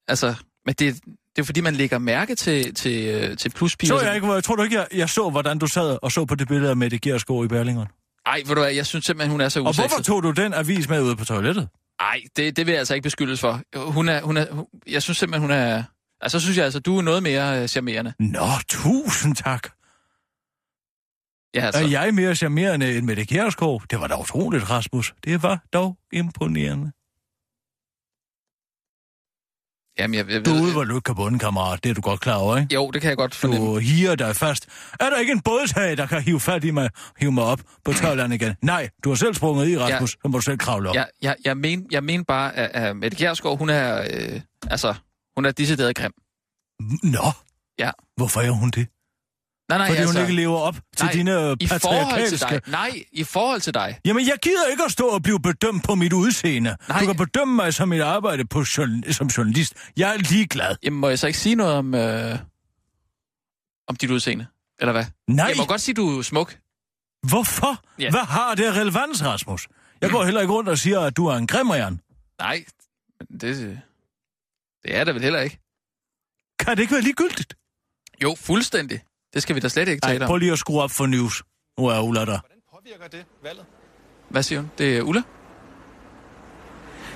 [SPEAKER 5] Altså, men det, det er fordi, man lægger mærke til, til, øh, til pluspiger.
[SPEAKER 4] Så jeg ikke, hvor- jeg tror du ikke, jeg, jeg så, hvordan du sad og så på det billede af Mette Gersgaard i Berlingeren.
[SPEAKER 5] Ej, ved du hvad, jeg synes simpelthen, hun er så
[SPEAKER 4] Og
[SPEAKER 5] usexet.
[SPEAKER 4] hvorfor tog du den avis med ude på toilettet?
[SPEAKER 5] Nej, det, det vil jeg altså ikke beskyldes for. Hun er, hun er, hun, jeg synes simpelthen, hun er... Altså, så synes jeg altså, du er noget mere øh, charmerende.
[SPEAKER 4] Nå, tusind tak.
[SPEAKER 5] Ja, altså.
[SPEAKER 4] Er jeg mere charmerende end Mette Gersgaard? Det var da utroligt, Rasmus. Det var dog imponerende.
[SPEAKER 5] Jamen, jeg, jeg,
[SPEAKER 4] Du er
[SPEAKER 5] ved-
[SPEAKER 4] ude, hvor du ikke kan bunde, kammerat. Det er du godt klar over, ikke?
[SPEAKER 5] Jo, det kan jeg godt fornemme.
[SPEAKER 4] Du higer dig fast. Er der ikke en bådtag, der kan hive fat i mig, hive mig op på tørland igen? Nej, du har selv sprunget i, Rasmus. Så må du selv kravle op.
[SPEAKER 5] Jeg, jeg, jeg, men, jeg mener bare, at, at Mette Kjærsgaard, hun er, øh, altså, hun er decideret grim.
[SPEAKER 4] Nå,
[SPEAKER 5] Ja.
[SPEAKER 4] hvorfor er hun det?
[SPEAKER 5] Nej, nej,
[SPEAKER 4] Fordi
[SPEAKER 5] altså,
[SPEAKER 4] hun ikke lever op til
[SPEAKER 5] nej,
[SPEAKER 4] dine øh,
[SPEAKER 5] i forhold til
[SPEAKER 4] patriarkalske...
[SPEAKER 5] dig. Nej, i forhold til dig.
[SPEAKER 4] Jamen, jeg gider ikke at stå og blive bedømt på mit udseende.
[SPEAKER 5] Nej.
[SPEAKER 4] Du kan bedømme mig som mit arbejde på journ- som journalist. Jeg er ligeglad.
[SPEAKER 5] Jamen, må jeg så ikke sige noget om, øh, om dit udseende? Eller hvad?
[SPEAKER 4] Nej,
[SPEAKER 5] Jeg må godt sige, du er smuk.
[SPEAKER 4] hvorfor?
[SPEAKER 5] Ja.
[SPEAKER 4] Hvad har det af relevans, Rasmus? Jeg går heller ikke rundt og siger, at du er en grimmerjern.
[SPEAKER 5] Nej, men det, øh, det er det vel heller ikke.
[SPEAKER 4] Kan det ikke være ligegyldigt?
[SPEAKER 5] Jo, fuldstændig. Det skal vi da slet ikke tale
[SPEAKER 4] Ej, prøv
[SPEAKER 5] om.
[SPEAKER 4] lige at skrue op for news. Nu er Ulla der.
[SPEAKER 5] Hvad siger hun? Det er Ulla?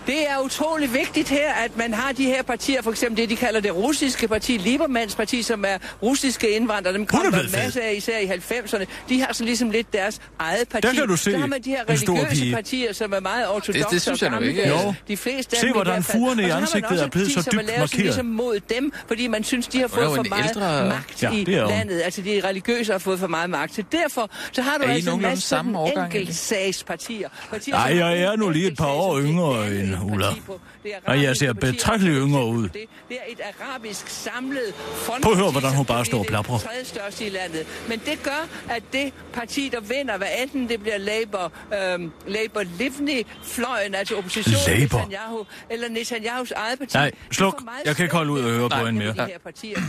[SPEAKER 8] Det er utrolig vigtigt her, at man har de her partier, for eksempel det, de kalder det russiske parti, Libermans parti, som er russiske indvandrere. Dem
[SPEAKER 4] Hun er
[SPEAKER 8] kom der
[SPEAKER 4] blevet
[SPEAKER 8] en masse af, især i 90'erne. De har sådan ligesom lidt deres eget parti.
[SPEAKER 4] Der kan du se
[SPEAKER 8] Så har man de her
[SPEAKER 4] en stor pige.
[SPEAKER 8] religiøse partier, som er meget ortodoxe
[SPEAKER 5] det synes jeg
[SPEAKER 8] og
[SPEAKER 5] nu ikke.
[SPEAKER 8] gammeldags.
[SPEAKER 4] Jo.
[SPEAKER 8] De fleste af
[SPEAKER 4] Se,
[SPEAKER 8] dem i
[SPEAKER 4] hvordan
[SPEAKER 8] hvert fald.
[SPEAKER 4] furene i
[SPEAKER 8] Og så har man
[SPEAKER 4] ansigtet
[SPEAKER 8] også
[SPEAKER 4] er blevet
[SPEAKER 8] et
[SPEAKER 4] så
[SPEAKER 8] parti, som er
[SPEAKER 4] dybt
[SPEAKER 8] lavet
[SPEAKER 4] markeret.
[SPEAKER 8] sådan Ligesom mod dem, fordi man synes, de har
[SPEAKER 5] Hun er
[SPEAKER 8] fået
[SPEAKER 5] jo
[SPEAKER 8] for
[SPEAKER 5] en
[SPEAKER 8] meget
[SPEAKER 5] ældre-
[SPEAKER 8] magt
[SPEAKER 4] Ja,
[SPEAKER 8] i
[SPEAKER 4] det er hun.
[SPEAKER 8] landet. Altså de religiøse har fået for meget magt. Så derfor så har du
[SPEAKER 5] Er I
[SPEAKER 8] altså en
[SPEAKER 5] nogenlunde
[SPEAKER 8] masse
[SPEAKER 5] samme
[SPEAKER 8] sådan
[SPEAKER 5] årgang, egentlig?
[SPEAKER 8] enkeltsagspartier. Partier,
[SPEAKER 4] Ej,
[SPEAKER 8] som har
[SPEAKER 4] jeg er
[SPEAKER 8] en
[SPEAKER 4] nu lige et par
[SPEAKER 8] enkeltsag,
[SPEAKER 4] år
[SPEAKER 8] som det
[SPEAKER 4] yngre
[SPEAKER 8] ikke er
[SPEAKER 4] end
[SPEAKER 8] et
[SPEAKER 4] Ulla.
[SPEAKER 8] parti på. Det er
[SPEAKER 4] Og jeg ser
[SPEAKER 8] arabiske partier,
[SPEAKER 4] betragteligt
[SPEAKER 8] for
[SPEAKER 4] yngre
[SPEAKER 8] eksempel
[SPEAKER 4] ud.
[SPEAKER 8] Det Det er et arabisk samlet front.
[SPEAKER 4] Prøv at høre, hvordan hun bare står og plaprer.
[SPEAKER 8] Det er det tredjestørste i landet. Men det gør, at det parti, der vinder, hvad enten det bliver Labour, øhm, Labour Livni, fløjen, altså oppositionen,
[SPEAKER 4] Labour.
[SPEAKER 8] Netanyahu, eller Netanyahus eget parti.
[SPEAKER 4] Nej,
[SPEAKER 8] de får
[SPEAKER 4] sluk.
[SPEAKER 8] meget
[SPEAKER 4] Jeg kan ikke holde ud og høre
[SPEAKER 8] svært
[SPEAKER 4] på
[SPEAKER 8] ved
[SPEAKER 4] hende mere.
[SPEAKER 8] at vinde de her partier.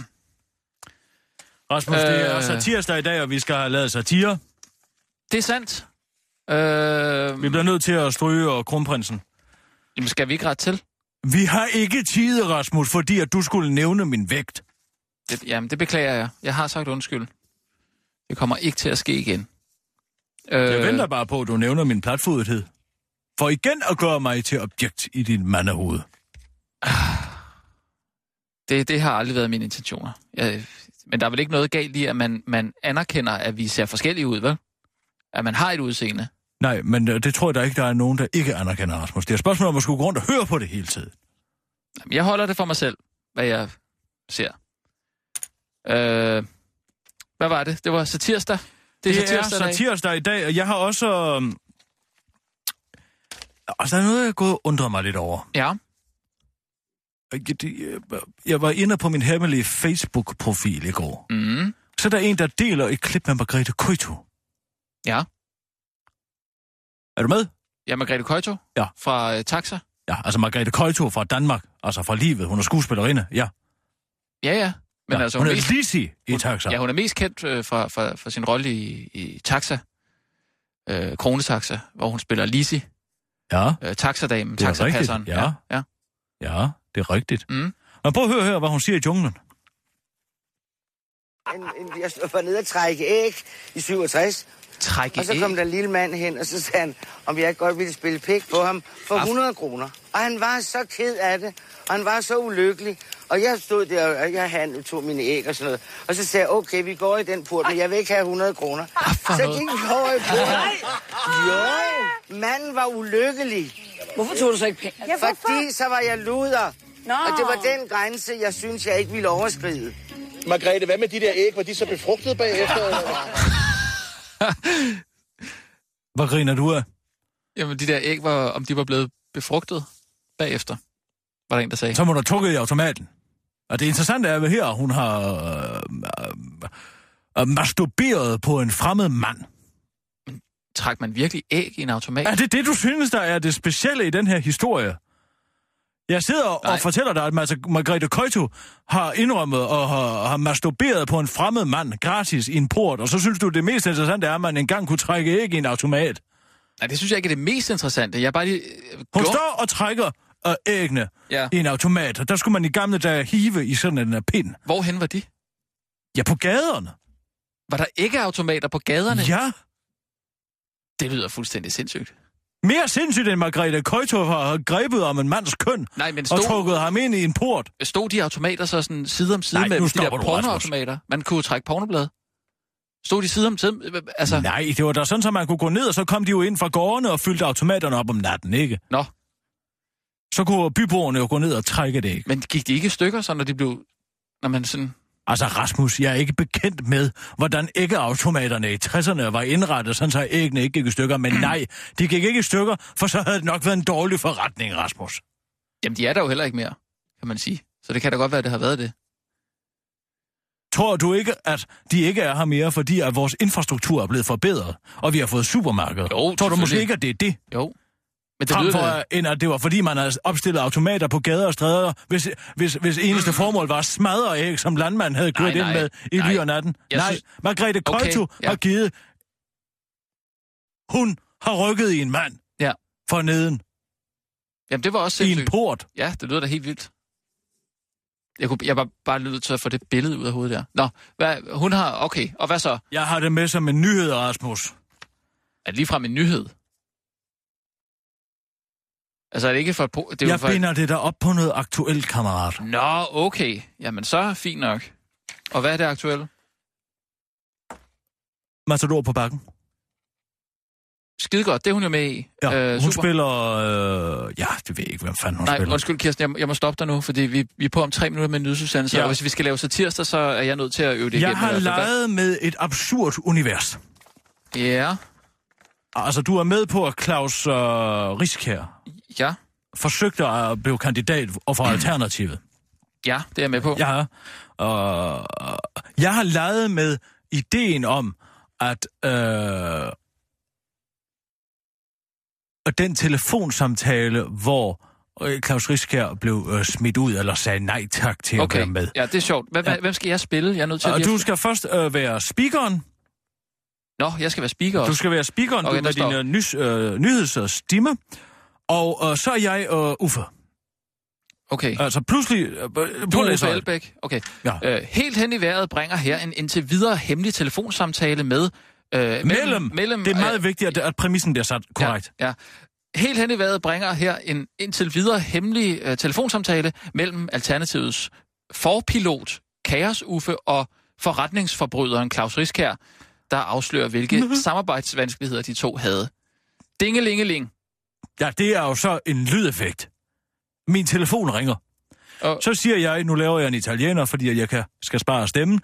[SPEAKER 4] Rasmus, øh... det er
[SPEAKER 5] Øh.
[SPEAKER 4] satirsdag i dag, og vi skal have lavet satire.
[SPEAKER 5] Det er sandt. Øh,
[SPEAKER 4] Vi bliver nødt til at stryge og kronprinsen.
[SPEAKER 5] jamen, skal vi ikke ret til?
[SPEAKER 4] Vi har ikke tid, Rasmus, fordi at du skulle nævne min vægt.
[SPEAKER 5] Det, jamen, det beklager jeg. Jeg har sagt undskyld. Det kommer ikke til at ske igen. Øh,
[SPEAKER 4] Jeg venter bare på, at du nævner min platfodethed. For igen at gøre mig til objekt i din mandehoved.
[SPEAKER 5] det, det har aldrig været mine intentioner. Jeg, men der er vel ikke noget galt i, at man, man anerkender, at vi ser forskellige ud, vel? At man har et udseende.
[SPEAKER 4] Nej, men øh, det tror jeg, der ikke der er nogen, der ikke anerkender, Rasmus. Det er et spørgsmål om at skulle gå rundt og høre på det hele tiden.
[SPEAKER 5] Jamen, Jeg holder det for mig selv, hvad jeg ser. Øh, hvad var det? Det var satirsdag.
[SPEAKER 4] Det, det er
[SPEAKER 5] satirsdag i dag.
[SPEAKER 4] satirsdag i dag, og jeg har også... øhm, Altså, der er noget, jeg har gået og undret mig lidt over.
[SPEAKER 5] Ja.
[SPEAKER 4] Jeg- det- jeg- Jeg var inde på min hemmelige Facebook-profil i går.
[SPEAKER 5] Mm,
[SPEAKER 4] Så er der en, der deler et klip med Margrethe Køjto.
[SPEAKER 5] ja.
[SPEAKER 4] Er du med?
[SPEAKER 5] Ja, Margrethe Køjto
[SPEAKER 4] Ja.
[SPEAKER 5] fra øh, Taxa.
[SPEAKER 4] Ja, altså Margrethe Køjto fra Danmark, altså fra livet. Hun er skuespillerinde, ja.
[SPEAKER 5] Ja, ja. Men
[SPEAKER 4] ja.
[SPEAKER 5] altså,
[SPEAKER 4] hun
[SPEAKER 5] hun,
[SPEAKER 4] er
[SPEAKER 5] mest,
[SPEAKER 4] Lisi i taxa.
[SPEAKER 5] ja, hun er mest kendt øh, fra, fra, fra sin rolle i, i Taxa. Øh, Kronetaxa, hvor hun spiller Lisi.
[SPEAKER 4] Ja,
[SPEAKER 5] Øh, taxadamen,
[SPEAKER 4] Det er
[SPEAKER 5] taxapasseren.
[SPEAKER 4] rigtigt, ja.
[SPEAKER 5] ja. ja.
[SPEAKER 4] ja, det er rigtigt.
[SPEAKER 5] Mm.
[SPEAKER 4] Men prøv at høre her, hvad hun siger i junglen.
[SPEAKER 9] En, en, jeg var nede og trække æg i 67,
[SPEAKER 5] Trække
[SPEAKER 9] og så kom der en lille mand hen, og så sagde han, om jeg ikke godt ville spille pik på ham for 100 kroner. Og han var så ked af det, og han var så ulykkelig. Og jeg stod der, og jeg handlede, tog mine æg og sådan noget. Og så sagde jeg, okay, vi går i den port, men jeg vil ikke have 100 kroner.
[SPEAKER 5] for
[SPEAKER 9] Så
[SPEAKER 5] noget.
[SPEAKER 9] gik vi over i porten. Jo, manden var ulykkelig.
[SPEAKER 8] Hvorfor tog du så ikke penge?
[SPEAKER 9] Fordi så var jeg luder. Og det var den grænse, jeg synes, jeg ikke ville overskride.
[SPEAKER 10] Margrethe, hvad med de der æg? Var de så befrugtet bagefter? eller hvad?
[SPEAKER 4] Hvad griner du af?
[SPEAKER 5] Jamen, de der æg, var, om de var blevet befrugtet bagefter, var der en, der sagde.
[SPEAKER 4] Så må du tukke i automaten. Og det interessante er, at her hun har øh, øh, øh, masturberet på en fremmed mand.
[SPEAKER 5] Træk man virkelig æg i en automat?
[SPEAKER 4] Er det det, du synes, der er det specielle i den her historie? Jeg sidder og
[SPEAKER 5] Nej.
[SPEAKER 4] fortæller dig, at Mar- Margrethe Køjto har indrømmet og har, har masturberet på en fremmed mand gratis i en port, og så synes du, det mest interessante er, at man engang kunne trække æg i en automat.
[SPEAKER 5] Nej, det synes jeg ikke er det mest interessante. Jeg er bare lige... øh,
[SPEAKER 4] Hun
[SPEAKER 5] gjorde-
[SPEAKER 4] står og trækker øh, æggene
[SPEAKER 5] Ja.
[SPEAKER 4] i en automat, og der skulle man i gamle dage hive i sådan en øh, pind.
[SPEAKER 5] Hvorhen var de?
[SPEAKER 4] Ja, på gaderne.
[SPEAKER 5] Var der ikke automater på gaderne?
[SPEAKER 4] Ja.
[SPEAKER 5] Det lyder fuldstændig sindssygt.
[SPEAKER 4] Mere sindssygt end Margrethe Køjto har grebet om en mands køn
[SPEAKER 5] Nej, men
[SPEAKER 4] og
[SPEAKER 5] stod,
[SPEAKER 4] trukket ham ind i en port.
[SPEAKER 5] stod de automater så sådan side om side
[SPEAKER 4] Nej,
[SPEAKER 5] med
[SPEAKER 4] nu
[SPEAKER 5] de der
[SPEAKER 4] stopper du, Rasmus.
[SPEAKER 5] pornoautomater? Man kunne jo trække pornoblad. Stod de side om side? øh, Altså, Nej.
[SPEAKER 4] Nej, det var da sådan, at man kunne gå ned, og så kom de jo ind fra gårdene og fyldte automaterne op om natten, ikke?
[SPEAKER 5] nå.
[SPEAKER 4] Så kunne byboerne jo gå ned og trække det, ikke?
[SPEAKER 5] Men gik de ikke i stykker, så når de blev... Når man sådan...
[SPEAKER 4] Altså, Rasmus, jeg er ikke bekendt med, hvordan æggeautomaterne i 60'erne var indrettet, sådan så æggene ikke gik i stykker. Men nej, de gik ikke i stykker, for så havde det nok været en dårlig forretning, Rasmus.
[SPEAKER 5] Jamen, de er der jo heller ikke mere, kan man sige. Så det kan da godt være, at det har været det.
[SPEAKER 4] Tror du ikke, at de ikke er her mere, fordi at vores infrastruktur er blevet forbedret, og vi har fået supermarked?
[SPEAKER 5] Jo,
[SPEAKER 4] Tror du måske
[SPEAKER 5] selvfølgelig.
[SPEAKER 4] ikke, at det er det?
[SPEAKER 5] Jo. Men det
[SPEAKER 4] Frem
[SPEAKER 5] lyder...
[SPEAKER 4] for, at- end at det var, fordi man havde opstillet automater på gader og stræder, hvis, hvis, hvis eneste formål var at smadre æg, som landmanden havde kørt ind
[SPEAKER 5] nej,
[SPEAKER 4] med i
[SPEAKER 5] nej.
[SPEAKER 4] ly og natten.
[SPEAKER 5] Jeg
[SPEAKER 4] nej,
[SPEAKER 5] synes-
[SPEAKER 4] Margrethe
[SPEAKER 5] Okay,
[SPEAKER 4] Køjto
[SPEAKER 5] ja.
[SPEAKER 4] har givet... Hun har rykket i en mand
[SPEAKER 5] Ja.
[SPEAKER 4] for neden
[SPEAKER 5] Jamen, det var også
[SPEAKER 4] i en
[SPEAKER 5] sindssygt.
[SPEAKER 4] port.
[SPEAKER 5] Ja, det lyder da helt vildt. Jeg, kunne, jeg var bare nødt til at få det billede ud af hovedet der. Nå, hvad, hun har... Okay, og hvad så?
[SPEAKER 4] Jeg har det med som en nyhed, Rasmus.
[SPEAKER 5] Er det ligefrem en nyhed? Altså, er det ikke for... et po- Det er
[SPEAKER 4] Det
[SPEAKER 5] jo
[SPEAKER 4] jeg
[SPEAKER 5] for...
[SPEAKER 4] binder det der op på noget aktuelt, kammerat.
[SPEAKER 5] Nå, okay. Jamen, så fint nok. Og hvad er det aktuelle?
[SPEAKER 4] Matador på bakken.
[SPEAKER 5] Skide godt, det er hun jo med i.
[SPEAKER 4] Ja, øh, hun
[SPEAKER 5] super.
[SPEAKER 4] spiller... Øh, ja, det ved jeg ikke, hvem fanden hun
[SPEAKER 5] Nej,
[SPEAKER 4] spiller.
[SPEAKER 5] undskyld Kirsten, jeg, må- jeg må stoppe dig nu, fordi vi, vi er på om tre minutter med en nyhedsudsendelse,
[SPEAKER 4] Ja.
[SPEAKER 5] ja. og hvis vi skal lave satirsdag, så er jeg nødt til at øve
[SPEAKER 4] Jeg
[SPEAKER 5] det igennem.
[SPEAKER 4] har
[SPEAKER 5] i hvert fald.
[SPEAKER 4] leget med et absurd univers.
[SPEAKER 5] Ja,
[SPEAKER 4] Altså, du er med på, at Claus øh, Riskær
[SPEAKER 5] ja,
[SPEAKER 4] forsøgte at blive kandidat og for Alternativet.
[SPEAKER 5] Mm. ja, det er jeg med på. Ja.
[SPEAKER 4] Jeg, øh, jeg har leget med ideen om, at øh, og den telefonsamtale, hvor øh, Claus Riskær blev øh, smidt ud eller sagde nej tak til at
[SPEAKER 5] Okay,
[SPEAKER 4] være med.
[SPEAKER 5] ja, det er sjovt. Hvad, ja. Hvem skal jeg spille? Jeg er nødt til
[SPEAKER 4] Og
[SPEAKER 5] lige at...
[SPEAKER 4] du skal først øh, være speakeren.
[SPEAKER 5] Nå, jeg skal være speaker
[SPEAKER 4] Du
[SPEAKER 5] også.
[SPEAKER 4] skal være speakeren okay,
[SPEAKER 5] Okay, der
[SPEAKER 4] med
[SPEAKER 5] står-
[SPEAKER 4] din øh, nys, øh, nyheds- og stemme. Og øh, så er jeg øh, Uffe.
[SPEAKER 5] Okay.
[SPEAKER 4] Altså pludselig... Øh, øh,
[SPEAKER 5] Du
[SPEAKER 4] prøv
[SPEAKER 5] er
[SPEAKER 4] lige så-
[SPEAKER 5] Uffe Elbæk. Okay.
[SPEAKER 4] Ja.
[SPEAKER 5] Øh, helt hen i vejret bringer her en indtil videre hemmelig telefonsamtale med... Øh,
[SPEAKER 4] Mellem.
[SPEAKER 5] mellem.
[SPEAKER 4] Det er meget
[SPEAKER 5] øh,
[SPEAKER 4] vigtigt, at, at præmissen bliver sat korrekt.
[SPEAKER 5] Ja, ja. Helt hen i vejret bringer her en indtil videre hemmelig øh, telefonsamtale mellem Alternativets forpilot, Kaos Uffe, og forretningsforbryderen Claus Riskær, der afslører, hvilke samarbejdsvanskeligheder de to havde. Dingelingeling.
[SPEAKER 4] Ja. ja, det er jo så en lydeffekt. Min telefon ringer.
[SPEAKER 5] Og-
[SPEAKER 4] Så siger jeg, nu laver jeg en italiener, fordi jeg kan, skal spare stemmen.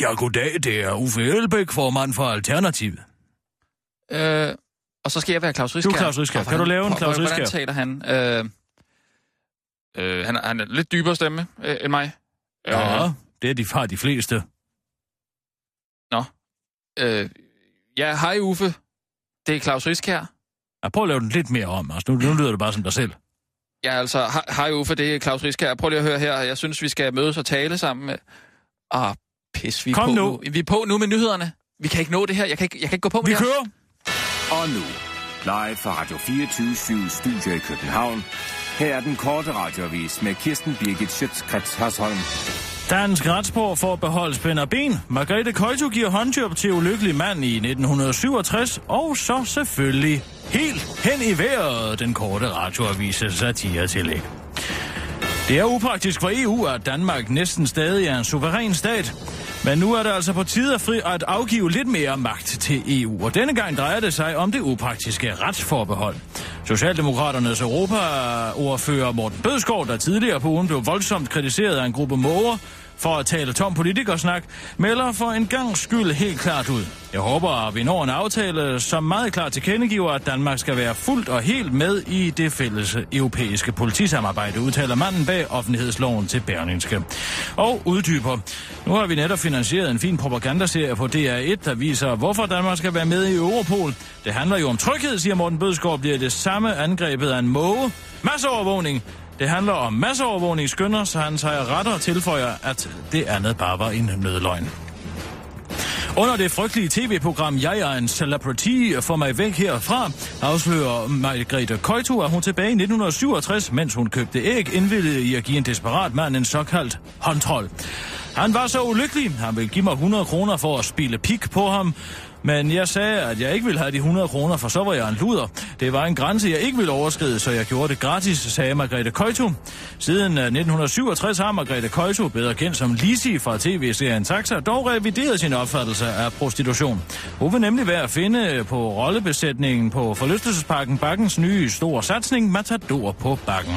[SPEAKER 4] Ja, goddag, det er Uffe Elbæk, formand for Alternativet.
[SPEAKER 5] Øh, og så skal jeg være Claus Riskær.
[SPEAKER 4] Du er Claus Riskær.
[SPEAKER 5] Og
[SPEAKER 4] Kan du
[SPEAKER 5] hvordan-
[SPEAKER 4] lave en
[SPEAKER 5] hvor-
[SPEAKER 4] Claus
[SPEAKER 5] Hvordan
[SPEAKER 4] Riskær?
[SPEAKER 5] taler han? Øh, øh, han, han er lidt dybere stemme øh, end mig.
[SPEAKER 4] Ja,
[SPEAKER 5] Øh,
[SPEAKER 4] ja det er de far de fleste.
[SPEAKER 5] øh, ja, hej Uffe. Det er Claus Riskær.
[SPEAKER 4] Ja, prøv at lave den lidt mere om, altså. Nu, nu lyder det bare som dig selv.
[SPEAKER 5] Ja, altså, he- hej Uffe, det er Claus Riskær. Prøv lige at høre her. Jeg synes, vi skal mødes og tale sammen. Ah, pis, vi er
[SPEAKER 4] Kom
[SPEAKER 5] på
[SPEAKER 4] nu.
[SPEAKER 5] Vi er på nu med nyhederne. Vi kan ikke nå det her. Jeg kan ikke, jeg kan ikke gå på med
[SPEAKER 4] Vi
[SPEAKER 5] det her.
[SPEAKER 4] kører!
[SPEAKER 6] Og nu, live fra Radio 24 Studio i København. Her er den korte radiovis med Kirsten Birgit Schøtzgrads Hasholm.
[SPEAKER 4] Dansk retsspor for at beholde spænd og ben. Margrethe Køjto giver håndjob til ulykkelig mand i 1967. Og så selvfølgelig helt hen i vejret den korte radioavise satiretillæg. Det er upraktisk for EU, at Danmark næsten stadig er en suveræn stat. Men nu er det altså på tide at, fri at afgive lidt mere magt til EU, og denne gang drejer det sig om det upraktiske retsforbehold. Socialdemokraternes europaordfører Morten Bødskov, der tidligere på ugen blev voldsomt kritiseret af en gruppe måger, for at tale tom politikersnak, melder for en gang skyld helt klart ud. Jeg håber, at vi når en aftale, som meget klart tilkendegiver, at Danmark skal være fuldt og helt med i det fælles europæiske politisamarbejde, udtaler manden bag offentlighedsloven til Berlingske. Og uddyber. Nu har vi netop finansieret en fin propagandaserie på DR1, der viser, hvorfor Danmark skal være med i Europol. Det handler jo om tryghed, siger Morten Bødskov, bliver det samme angrebet af en måge. Masseovervågning. Det handler om masseovervågning, skynder, så han tager retter og tilføjer, at det andet bare var en nødløgn. Under det frygtelige tv-program Jeg er en celebrity for mig væk herfra, afslører Margrethe Køjto, at hun tilbage i 1967, mens hun købte æg, indvilligede i at give en desperat mand en såkaldt håndtrol. Han var så ulykkelig, han ville give mig 100 kroner for at spille pik på ham, men jeg sagde, at jeg ikke ville have de 100 kroner, for så var jeg en luder. Det var en grænse, jeg ikke ville overskride, så jeg gjorde det gratis, sagde Margrethe Køjto. Siden øh, 1967 har Margrethe Køjto, bedre kendt som Lisi fra tv-serien Taxa, dog revideret sin opfattelse af prostitution. Hun vil nemlig være at finde øh, på rollebesætningen på forlystelsesparken Bakkens nye store satsning, Matador på Bakken.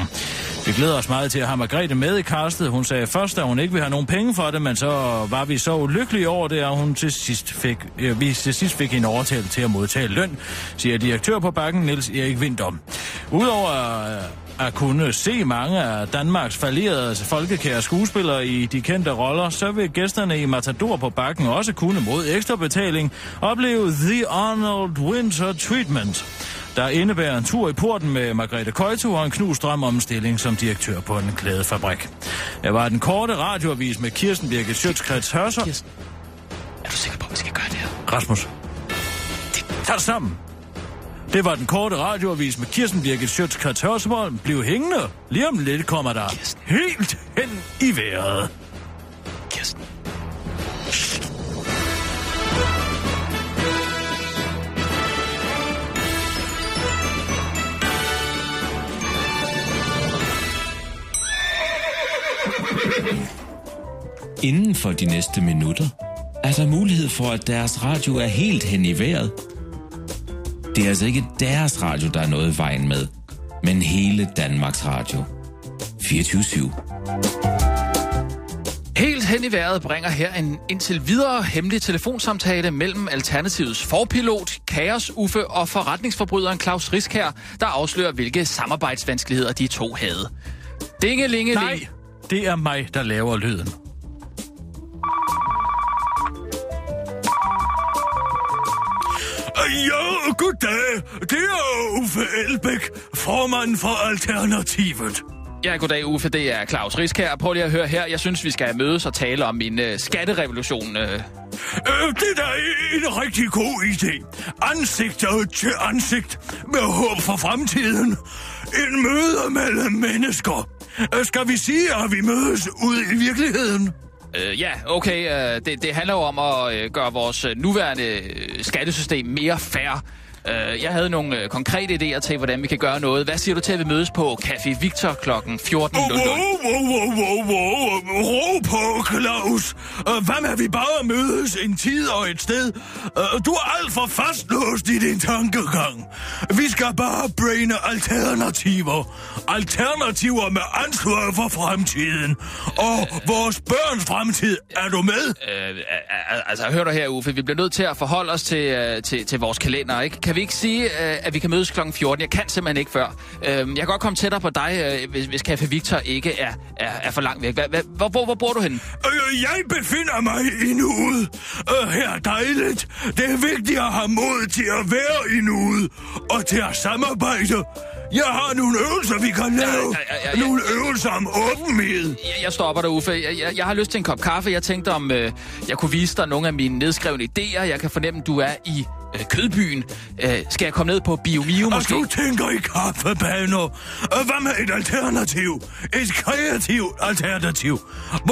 [SPEAKER 4] Vi glæder os meget til at have Margrethe med i kastet. Hun sagde først, at hun ikke ville have nogen penge for det, men så var vi så ulykkelige over det, at hun til sidst fik, øh, vi til sidst fik en overtalt til at modtage løn, siger direktør på bakken, Niels Erik Vindom. Udover øh, at kunne se mange af Danmarks fallerede folkekære skuespillere i de kendte roller, så vil gæsterne i Matador på bakken også kunne mod ekstra betaling opleve The Arnold Winter Treatment, der indebærer en tur i porten med Margrethe Køjto og en knust drøm om en stilling som direktør på en klædefabrik. Det var den korte radioavis med Kirsten Birgit Sjøtskrets Hørsel.
[SPEAKER 5] Kirsten, er du sikker på, at vi skal gøre det her?
[SPEAKER 4] Rasmus. Tag det sammen. Det var den korte radioavis med Kirsten Birgit Sjøtskrets Hørsvold. Bliv hængende. Lige om lidt kommer der
[SPEAKER 5] Kirsten.
[SPEAKER 4] helt hen i vejret.
[SPEAKER 5] Kirsten.
[SPEAKER 10] Inden for de næste minutter er der mulighed for, at deres radio er helt hen i vejret. Det er altså ikke deres radio, der er noget i vejen med, men hele Danmarks Radio. 24 /7.
[SPEAKER 5] Helt hen i vejret bringer her en indtil videre hemmelig telefonsamtale mellem Alternativets forpilot, Kaos Uffe og forretningsforbryderen Claus Riskær, der afslører, hvilke samarbejdsvanskeligheder de to havde. Dingelingeling.
[SPEAKER 4] Nej, det er mig, der laver lyden. Ja, goddag. Det er Uffe Elbæk, formand for Alternativet.
[SPEAKER 5] Ja, goddag Uffe, det er Claus Riskær. Prøv lige at høre her. Jeg synes, vi skal mødes og tale om min øh, skatterevolution. Øh.
[SPEAKER 4] Øh, det er da en rigtig god idé. Ansigt øh, til ansigt med håb for fremtiden. En møde mellem mennesker. Øh, Skal vi sige, at vi mødes ude i virkeligheden?
[SPEAKER 5] Øh, ja, okay. Øh, det, det handler jo om at øh, gøre vores øh, nuværende øh, skattesystem mere fair. Øh, jeg havde nogle øh, konkrete idéer til, hvordan vi kan gøre noget. Hvad siger du til, at vi mødes på Café Victor kl. 14.00?
[SPEAKER 4] Wow, wow, wow, wow, wow. Ro på, Claus. Øh, Hvad med, at vi bare mødes en tid og et sted? Øh, Du er alt for fastlåst i din tankegang. Vi skal bare braine alternativer. Alternativer med ansvar for fremtiden. Og vores børns fremtid. Er du med?
[SPEAKER 5] Øh, al- al- altså, hør dig her, Uffe. Vi bliver nødt til at forholde os til, øh, til, til vores kalender, ikke? Kan vi ikke sige, øh, at vi kan mødes kl. 14? Jeg kan simpelthen ikke før. Øh, jeg kan godt komme tættere på dig, øh, hvis, hvis Café Victor ikke er, er, er for langt væk. Hva, hva, hvor, hvor, hvor bor du henne?
[SPEAKER 4] Øh, Jeg befinder mig i nuet. Øh, Her er dejligt. Det er vigtigt at have mod til at være i nuet og til at samarbejde. Jeg har nogle øvelser, vi kan lave.
[SPEAKER 5] ja, ja, ja.
[SPEAKER 4] Nogle øvelser om åbenhed.
[SPEAKER 5] Jeg, jeg stopper dig, Uffe. Jeg, jeg, jeg har lyst til en kop kaffe. Jeg tænkte, om øh, jeg kunne vise dig nogle af mine nedskrevne idéer. Jeg kan fornemme, du er i øh, kødbyen. Øh, skal jeg komme ned på BioMio
[SPEAKER 4] Og
[SPEAKER 5] måske?
[SPEAKER 4] du tænker i kaffebaner. Øh, Hvad med et alternativ? Et kreativt alternativ.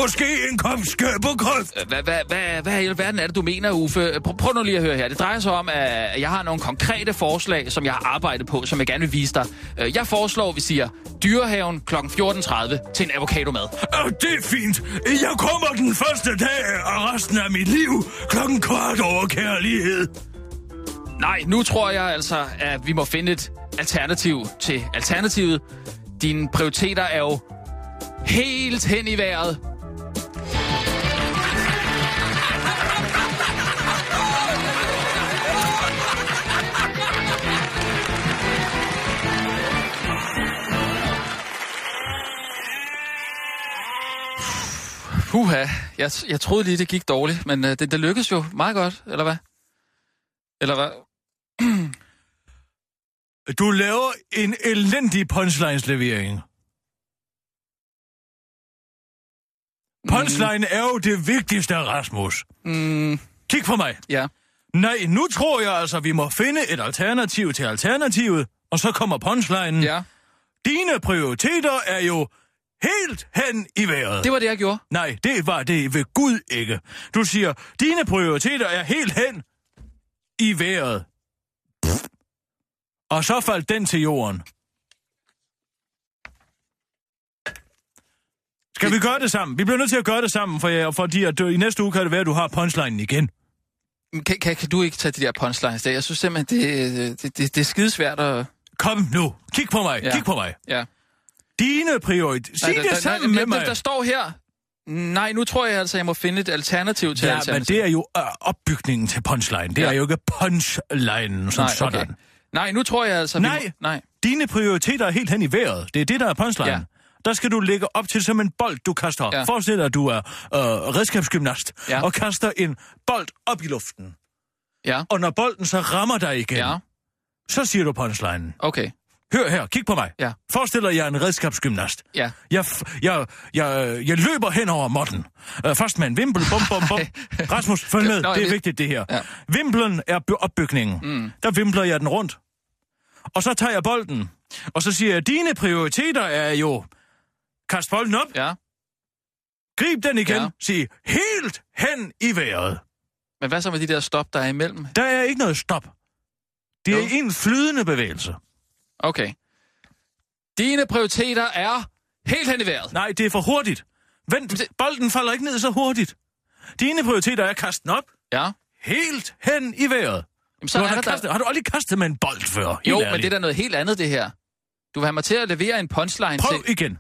[SPEAKER 4] Måske en kop skæberkræft.
[SPEAKER 5] Hvad, hvad, hvad, hvad i alverden er det, du mener, Uffe? Prøv, prøv nu lige at høre her. Det drejer sig om, at jeg har nogle konkrete forslag, som jeg har arbejdet på, som jeg gerne vil vise dig. Øh, Jeg foreslår, at vi siger dyrehaven kl. 14.30 til en avocadomad.
[SPEAKER 4] Øh, Det er fint. Jeg kommer den første dag af resten af mit liv klokken kvart over kærlighed.
[SPEAKER 5] Nej, nu tror jeg altså, at vi må finde et alternativ til alternativet. Dine prioriteter er jo helt hen i vejret. Puha, jeg, jeg troede lige, det gik dårligt, men øh, det, det lykkedes jo meget godt, eller hvad? Eller hvad?
[SPEAKER 4] Du laver en elendig punchlineslevering. Punchline er jo det vigtigste, Rasmus.
[SPEAKER 5] Mm,
[SPEAKER 4] Kig på mig.
[SPEAKER 5] ja.
[SPEAKER 4] Nej, nu tror jeg altså, vi må finde et alternativ til alternativet, og så kommer punchlinen.
[SPEAKER 5] ja,
[SPEAKER 4] Dine prioriteter er jo helt hen i vejret.
[SPEAKER 5] det var det, jeg gjorde.
[SPEAKER 4] Nej, det var det ved Gud ikke. Du siger, dine prioriteter er helt hen i vejret. Pff. Og så faldt den til jorden. Skal vi gøre det sammen? Vi bliver nødt til at gøre det sammen, for jeg, fordi at, øh, i næste uge kan det være, at du har punchline igen.
[SPEAKER 5] Men Kan, kan, kan du ikke tage de der punchlines der? Jeg synes simpelthen, det, øh, det, det, det er skidesvært at...
[SPEAKER 4] Kom nu, kig på mig,
[SPEAKER 5] Ja.
[SPEAKER 4] kig på mig.
[SPEAKER 5] Ja.
[SPEAKER 4] Dine prioriteter... Sig
[SPEAKER 5] der,
[SPEAKER 4] det
[SPEAKER 5] der,
[SPEAKER 4] sammen
[SPEAKER 5] der,
[SPEAKER 4] med
[SPEAKER 5] Der,
[SPEAKER 4] mig.
[SPEAKER 5] der står her... Nej, nu tror jeg altså, jeg må finde et alternativ til
[SPEAKER 4] Ja, men
[SPEAKER 5] alternativ.
[SPEAKER 4] det er jo øh, opbygningen til punchline. Det
[SPEAKER 5] Ja.
[SPEAKER 4] er jo ikke punchlinen som
[SPEAKER 5] Nej,
[SPEAKER 4] sådan.
[SPEAKER 5] Okay. Nej, nu tror jeg altså... vi
[SPEAKER 4] Nej.
[SPEAKER 5] Må... Nej,
[SPEAKER 4] Dine prioriteter er helt hen i vejret. Det er det, der er punchline.
[SPEAKER 5] Ja.
[SPEAKER 4] Ja. Der skal du lægge op til som en bold, du kaster op.
[SPEAKER 5] Ja.
[SPEAKER 4] Ja. Forestil dig, at du er øh, redskabsgymnast
[SPEAKER 5] Ja.
[SPEAKER 4] ja. og kaster en bold op i luften.
[SPEAKER 5] Ja.
[SPEAKER 4] Og når bolden så rammer dig igen,
[SPEAKER 5] ja,
[SPEAKER 4] ja. så siger du punchlinen.
[SPEAKER 5] okay.
[SPEAKER 4] Hør her, kig på mig.
[SPEAKER 5] Ja.
[SPEAKER 4] Forestil dig, at jeg er en redskabsgymnast.
[SPEAKER 5] Ja.
[SPEAKER 4] Jeg, f- jeg, jeg, jeg løber hen over måtten. Øh, først med en vimpel, bum, bum, bum. Rasmus, følg med,
[SPEAKER 5] Nå, jeg
[SPEAKER 4] det
[SPEAKER 5] ved-
[SPEAKER 4] er vigtigt det her.
[SPEAKER 5] Ja.
[SPEAKER 4] Vimplen er by- opbygningen. Mm. Der vimpler jeg den rundt. Og så tager jeg bolden. Og så siger jeg, dine prioriteter er jo... Kast bolden op,
[SPEAKER 5] Ja.
[SPEAKER 4] grib den igen,
[SPEAKER 5] Ja.
[SPEAKER 4] ja. sig helt hen i vejret.
[SPEAKER 5] Men hvad så med de der stop, der er imellem?
[SPEAKER 4] Der er ikke noget stop. Det er
[SPEAKER 5] Jo.
[SPEAKER 4] en flydende bevægelse.
[SPEAKER 5] Okay. Dine prioriteter er helt hen i vejret.
[SPEAKER 4] Nej, det er for hurtigt. Vent,
[SPEAKER 5] det-
[SPEAKER 4] det... bolden falder ikke ned så hurtigt. Dine prioriteter er at kaste den op,
[SPEAKER 5] Ja.
[SPEAKER 4] helt hen i vejret.
[SPEAKER 5] Jamen,
[SPEAKER 4] Så
[SPEAKER 5] så
[SPEAKER 4] du
[SPEAKER 5] er
[SPEAKER 4] har,
[SPEAKER 5] der,
[SPEAKER 4] da kastet,
[SPEAKER 5] der...
[SPEAKER 4] har du aldrig kastet med en bold før? Helt
[SPEAKER 5] Jo, men
[SPEAKER 4] ærligt.
[SPEAKER 5] det er da noget helt andet, det her. Du vil have mig til at levere en punchline
[SPEAKER 4] Prøv
[SPEAKER 5] til...
[SPEAKER 4] igen.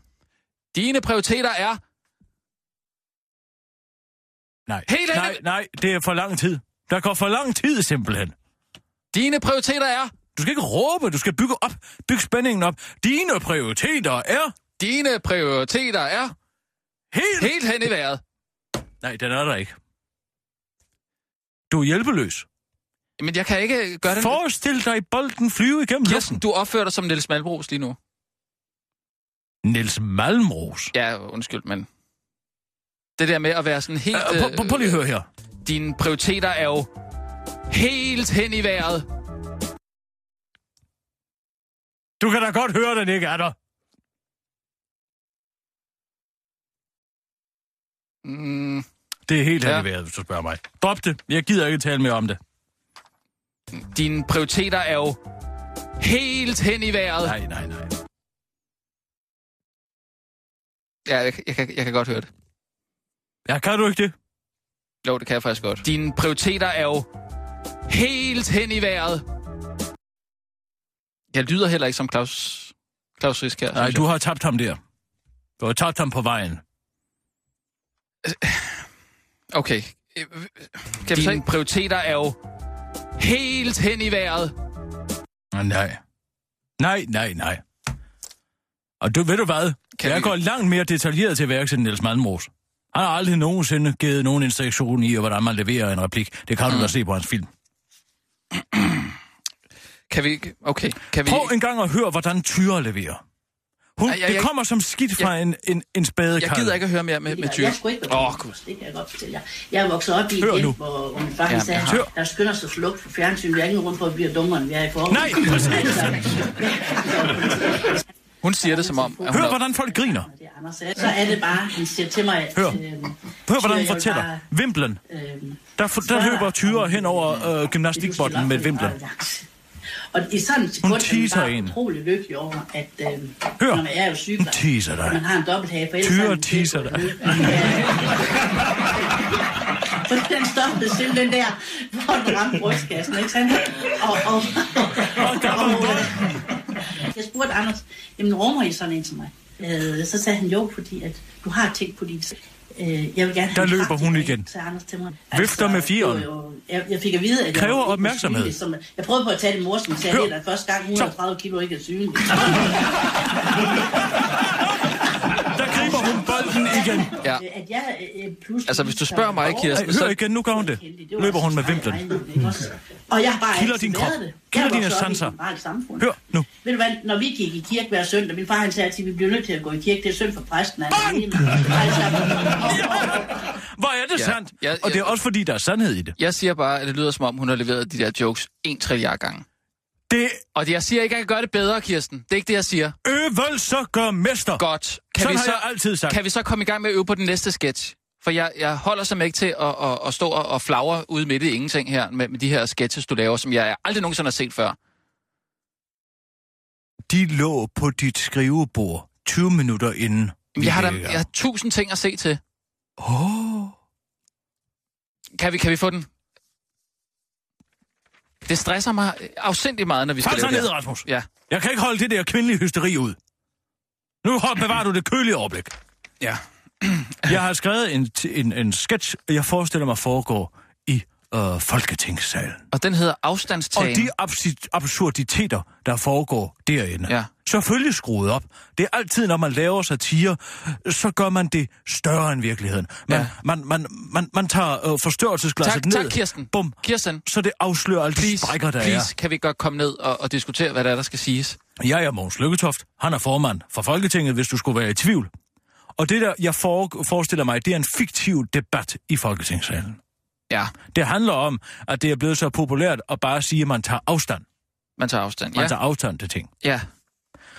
[SPEAKER 5] Dine prioriteter er...
[SPEAKER 4] Nej.
[SPEAKER 5] Helt
[SPEAKER 4] nej,
[SPEAKER 5] ærligt.
[SPEAKER 4] nej, det er for lang tid. Der går for lang tid simpelthen.
[SPEAKER 5] Dine prioriteter er...
[SPEAKER 4] Du skal ikke råbe, du skal bygge op, bygge spændingen op. Dine prioriteter er
[SPEAKER 5] Dine prioriteter er...
[SPEAKER 4] helt...
[SPEAKER 5] Helt hen i vejret.
[SPEAKER 4] Nej, den er der ikke. Du er hjælpeløs.
[SPEAKER 5] Men jeg kan ikke gøre det...
[SPEAKER 4] Forestil dig bolden flyve igennem
[SPEAKER 5] Kirsten,
[SPEAKER 4] luften.
[SPEAKER 5] du opfører dig som Niels Malbros lige nu.
[SPEAKER 4] Niels Malmros.
[SPEAKER 5] Ja, undskyld, men... Det der med at være sådan helt... øh,
[SPEAKER 4] Øh, prøv- prøv- Prøv lige at høre her.
[SPEAKER 5] Dine prioriteter er jo helt hen i vejret.
[SPEAKER 4] Du kan da godt høre, den ikke er der.
[SPEAKER 5] Mm,
[SPEAKER 4] Det er helt
[SPEAKER 5] Ja.
[SPEAKER 4] ja. vejret, hvis du spørger mig. Drop det. Jeg gider ikke tale mere om det.
[SPEAKER 5] dine prioriteter er jo helt hen i vejret.
[SPEAKER 4] Nej, nej, nej.
[SPEAKER 5] Ja, jeg, jeg, kan, jeg kan godt høre det.
[SPEAKER 4] Ja, kan du ikke det?
[SPEAKER 5] Jo, det kan jeg faktisk godt. Dine prioriteter er jo helt hen i vejret. Jeg lyder heller ikke som Claus, Claus Risk her.
[SPEAKER 4] Nej, du har tabt ham der. Du har tabt ham på vejen.
[SPEAKER 5] Okay. Øh, Kan vi så ikke? prioriteter er jo helt hen i vejret.
[SPEAKER 4] Ah, Nej. Nej, nej, nej. Og du ved du hvad?
[SPEAKER 5] Kan
[SPEAKER 4] Kan jeg
[SPEAKER 5] vi-
[SPEAKER 4] går langt mere detaljeret til værks end Niels Malmros. Han har aldrig nogensinde givet nogen instruktion i, hvordan man leverer en replik. Det kan du da se på hans film.
[SPEAKER 5] Kan vi ikke? Okay. Kan vi
[SPEAKER 4] Prøv en gang at høre, hvordan Tyre leverer. Hun,
[SPEAKER 5] Ej, jeg-
[SPEAKER 4] det
[SPEAKER 5] jeg-
[SPEAKER 4] kommer som skidt fra en, en, en
[SPEAKER 5] Jeg
[SPEAKER 4] spadekar.
[SPEAKER 5] gider ikke at høre mere med, med
[SPEAKER 7] jeg,
[SPEAKER 5] Tyre.
[SPEAKER 7] jeg skulle ikke
[SPEAKER 5] Åh,
[SPEAKER 7] være
[SPEAKER 5] oh, gud.
[SPEAKER 7] Det kan jeg godt fortælle jer. Jeg er vokset op i
[SPEAKER 4] Hør
[SPEAKER 7] et
[SPEAKER 4] nu.
[SPEAKER 7] hjem, hvor, hvor min far
[SPEAKER 5] Ja,
[SPEAKER 7] han sagde,
[SPEAKER 5] jeg
[SPEAKER 4] har-
[SPEAKER 7] der skynder sig sluk for fjernsyn. Vi er ikke nogen for, at vi bliver dummere, end vi er i forhold.
[SPEAKER 4] Nej, præcis.
[SPEAKER 5] Hun siger det som om... At hun
[SPEAKER 4] Hør,
[SPEAKER 5] er-
[SPEAKER 4] hvordan folk griner.
[SPEAKER 7] Så er det bare, han siger til mig,
[SPEAKER 4] Hør.
[SPEAKER 7] øhm,
[SPEAKER 4] Hør, hvordan
[SPEAKER 7] Tyre,
[SPEAKER 4] hun
[SPEAKER 7] jeg vil
[SPEAKER 4] fortæller.
[SPEAKER 7] bare,
[SPEAKER 4] Vimplen.
[SPEAKER 7] øhm,
[SPEAKER 4] Der, f- der
[SPEAKER 7] spørge
[SPEAKER 4] løber
[SPEAKER 7] dig,
[SPEAKER 4] tyre
[SPEAKER 7] om,
[SPEAKER 4] hen over øh,
[SPEAKER 7] vil du stille
[SPEAKER 4] gymnastikbolden
[SPEAKER 7] op
[SPEAKER 4] med
[SPEAKER 7] for
[SPEAKER 4] vimplen.
[SPEAKER 7] Liberal Alliance? Og i sådan et sekund er
[SPEAKER 4] teaser
[SPEAKER 7] man bare
[SPEAKER 4] en.
[SPEAKER 7] utrolig lykkelig over, at øh,
[SPEAKER 4] Hør,
[SPEAKER 7] når man er jo sygeplejerske,
[SPEAKER 4] hun teaser dig.
[SPEAKER 7] at man har en dobbelthage, for ellers
[SPEAKER 4] Tyre
[SPEAKER 7] er man
[SPEAKER 4] teaser dig.
[SPEAKER 7] For den stoppede simpelthen der, hvor den ramte brystkassen, ikke sandt? Og, og, og, jeg spurgte Anders, jamen rummer I sådan en til mig? Øh, så sagde han jo, fordi at du har tænkt på din øh, jeg vil gerne have
[SPEAKER 4] Der
[SPEAKER 7] en
[SPEAKER 4] løber
[SPEAKER 7] kraftig
[SPEAKER 4] hun
[SPEAKER 7] dag,
[SPEAKER 4] igen.
[SPEAKER 7] sagde Anders til mig.
[SPEAKER 4] Vifter med fireren.
[SPEAKER 7] det var jo- Jeg, jeg fik at vide, at jeg
[SPEAKER 4] Kræver
[SPEAKER 7] var ikke
[SPEAKER 4] opmærksomhed.
[SPEAKER 7] synlig, Som, jeg prøvede på at tage det mor, som sagde,
[SPEAKER 4] Hør.
[SPEAKER 7] at det er første gang 130 kilo ikke er synlig.
[SPEAKER 4] Der griber hun bolden i igen.
[SPEAKER 5] Ja.
[SPEAKER 7] At jeg, øh, pludselig
[SPEAKER 5] Altså, hvis du spørger mig,
[SPEAKER 7] Åh,
[SPEAKER 5] Kirsten,
[SPEAKER 4] Ej, hør igen, nu gør hun det.
[SPEAKER 7] Det var
[SPEAKER 4] Løber hun
[SPEAKER 7] altså
[SPEAKER 4] med vimplen.
[SPEAKER 7] streg i regnen, ikke også? Og jeg har bare
[SPEAKER 4] Kilder
[SPEAKER 7] altid
[SPEAKER 4] din krop.
[SPEAKER 7] været det.
[SPEAKER 4] Kilder
[SPEAKER 7] Jeg er
[SPEAKER 4] dine
[SPEAKER 7] vokset op i et
[SPEAKER 4] sanser.
[SPEAKER 7] liberalt samfund.
[SPEAKER 4] Hør nu.
[SPEAKER 7] Ved du hvad, når vi gik i kirke hver søndag, min far han sagde altid, at vi bliver nødt til at gå i kirke, det er synd for præsten. Han er alene. altså, og, og,
[SPEAKER 4] Hvor er det
[SPEAKER 5] Ja.
[SPEAKER 4] ja. sandt?
[SPEAKER 5] Ja,
[SPEAKER 4] Ja,
[SPEAKER 5] ja.
[SPEAKER 4] ja. Og det er også fordi, der er sandhed i det.
[SPEAKER 5] Jeg siger bare, at det lyder som om, hun har leveret de der jokes en trilliard gange.
[SPEAKER 4] Det
[SPEAKER 5] Og det- jeg siger ikke, at jeg kan gøre det bedre, Kirsten. Det er ikke det, jeg siger.
[SPEAKER 4] øvelser gør mester.
[SPEAKER 5] Godt.
[SPEAKER 4] Sådan har jeg altid sagt.
[SPEAKER 5] Kan vi så komme i gang med at øve på den næste sketch? For jeg, jeg holder simpelthen ikke til at, at, at stå og, og flagre ude midt i ingenting her med, med de her sketches, du laver, som jeg aldrig nogensinde har set før.
[SPEAKER 4] De lå på dit skrivebord 20 minutter inden.
[SPEAKER 5] Jamen, Jeg har, da, jeg har tusind ting at se til.
[SPEAKER 4] Oh.
[SPEAKER 5] Kan vi, kan vi få den? Det stresser mig afsindig meget, når vi skal
[SPEAKER 4] Hold så
[SPEAKER 5] lave det
[SPEAKER 4] ned,
[SPEAKER 5] her.
[SPEAKER 4] Rasmus.
[SPEAKER 5] Ja.
[SPEAKER 4] Jeg kan ikke holde det der kvindelige hysteri ud. Nu hold- bevarer du det kølige overblik.
[SPEAKER 5] Ja.
[SPEAKER 4] Jeg har skrevet en, t- en, en sketch, jeg forestiller mig foregår i øh, Folketingssalen.
[SPEAKER 5] Og den hedder
[SPEAKER 4] Og
[SPEAKER 5] afstandstagen.
[SPEAKER 4] de absi- absurditeter, der foregår derinde.
[SPEAKER 5] Ja.
[SPEAKER 4] Selvfølgelig skruet op. Det er altid, når man laver satire, så gør man det større end virkeligheden. Man,
[SPEAKER 5] Ja.
[SPEAKER 4] ja. man, man, man, man tager øh, forstørrelsesglasset
[SPEAKER 5] Tak,
[SPEAKER 4] ned.
[SPEAKER 5] tak, Kirsten.
[SPEAKER 4] Bum.
[SPEAKER 5] Kirsten,
[SPEAKER 4] Så det afslører alle de
[SPEAKER 5] please,
[SPEAKER 4] sprækker, der
[SPEAKER 5] please kan vi godt komme ned og, og diskutere, hvad der er, der skal siges.
[SPEAKER 4] er. Jeg er Mogens Lykketoft. Han er formand for Folketinget, hvis du skulle være i tvivl. Og det der, jeg for, forestiller mig, det er en fiktiv debat i Folketingssalen.
[SPEAKER 5] Ja,
[SPEAKER 4] Det handler om, at det er blevet så populært at bare sige, at man tager afstand.
[SPEAKER 5] man tager afstand.
[SPEAKER 4] Man
[SPEAKER 5] Ja,
[SPEAKER 4] ja. tager afstand til ting.
[SPEAKER 5] ja.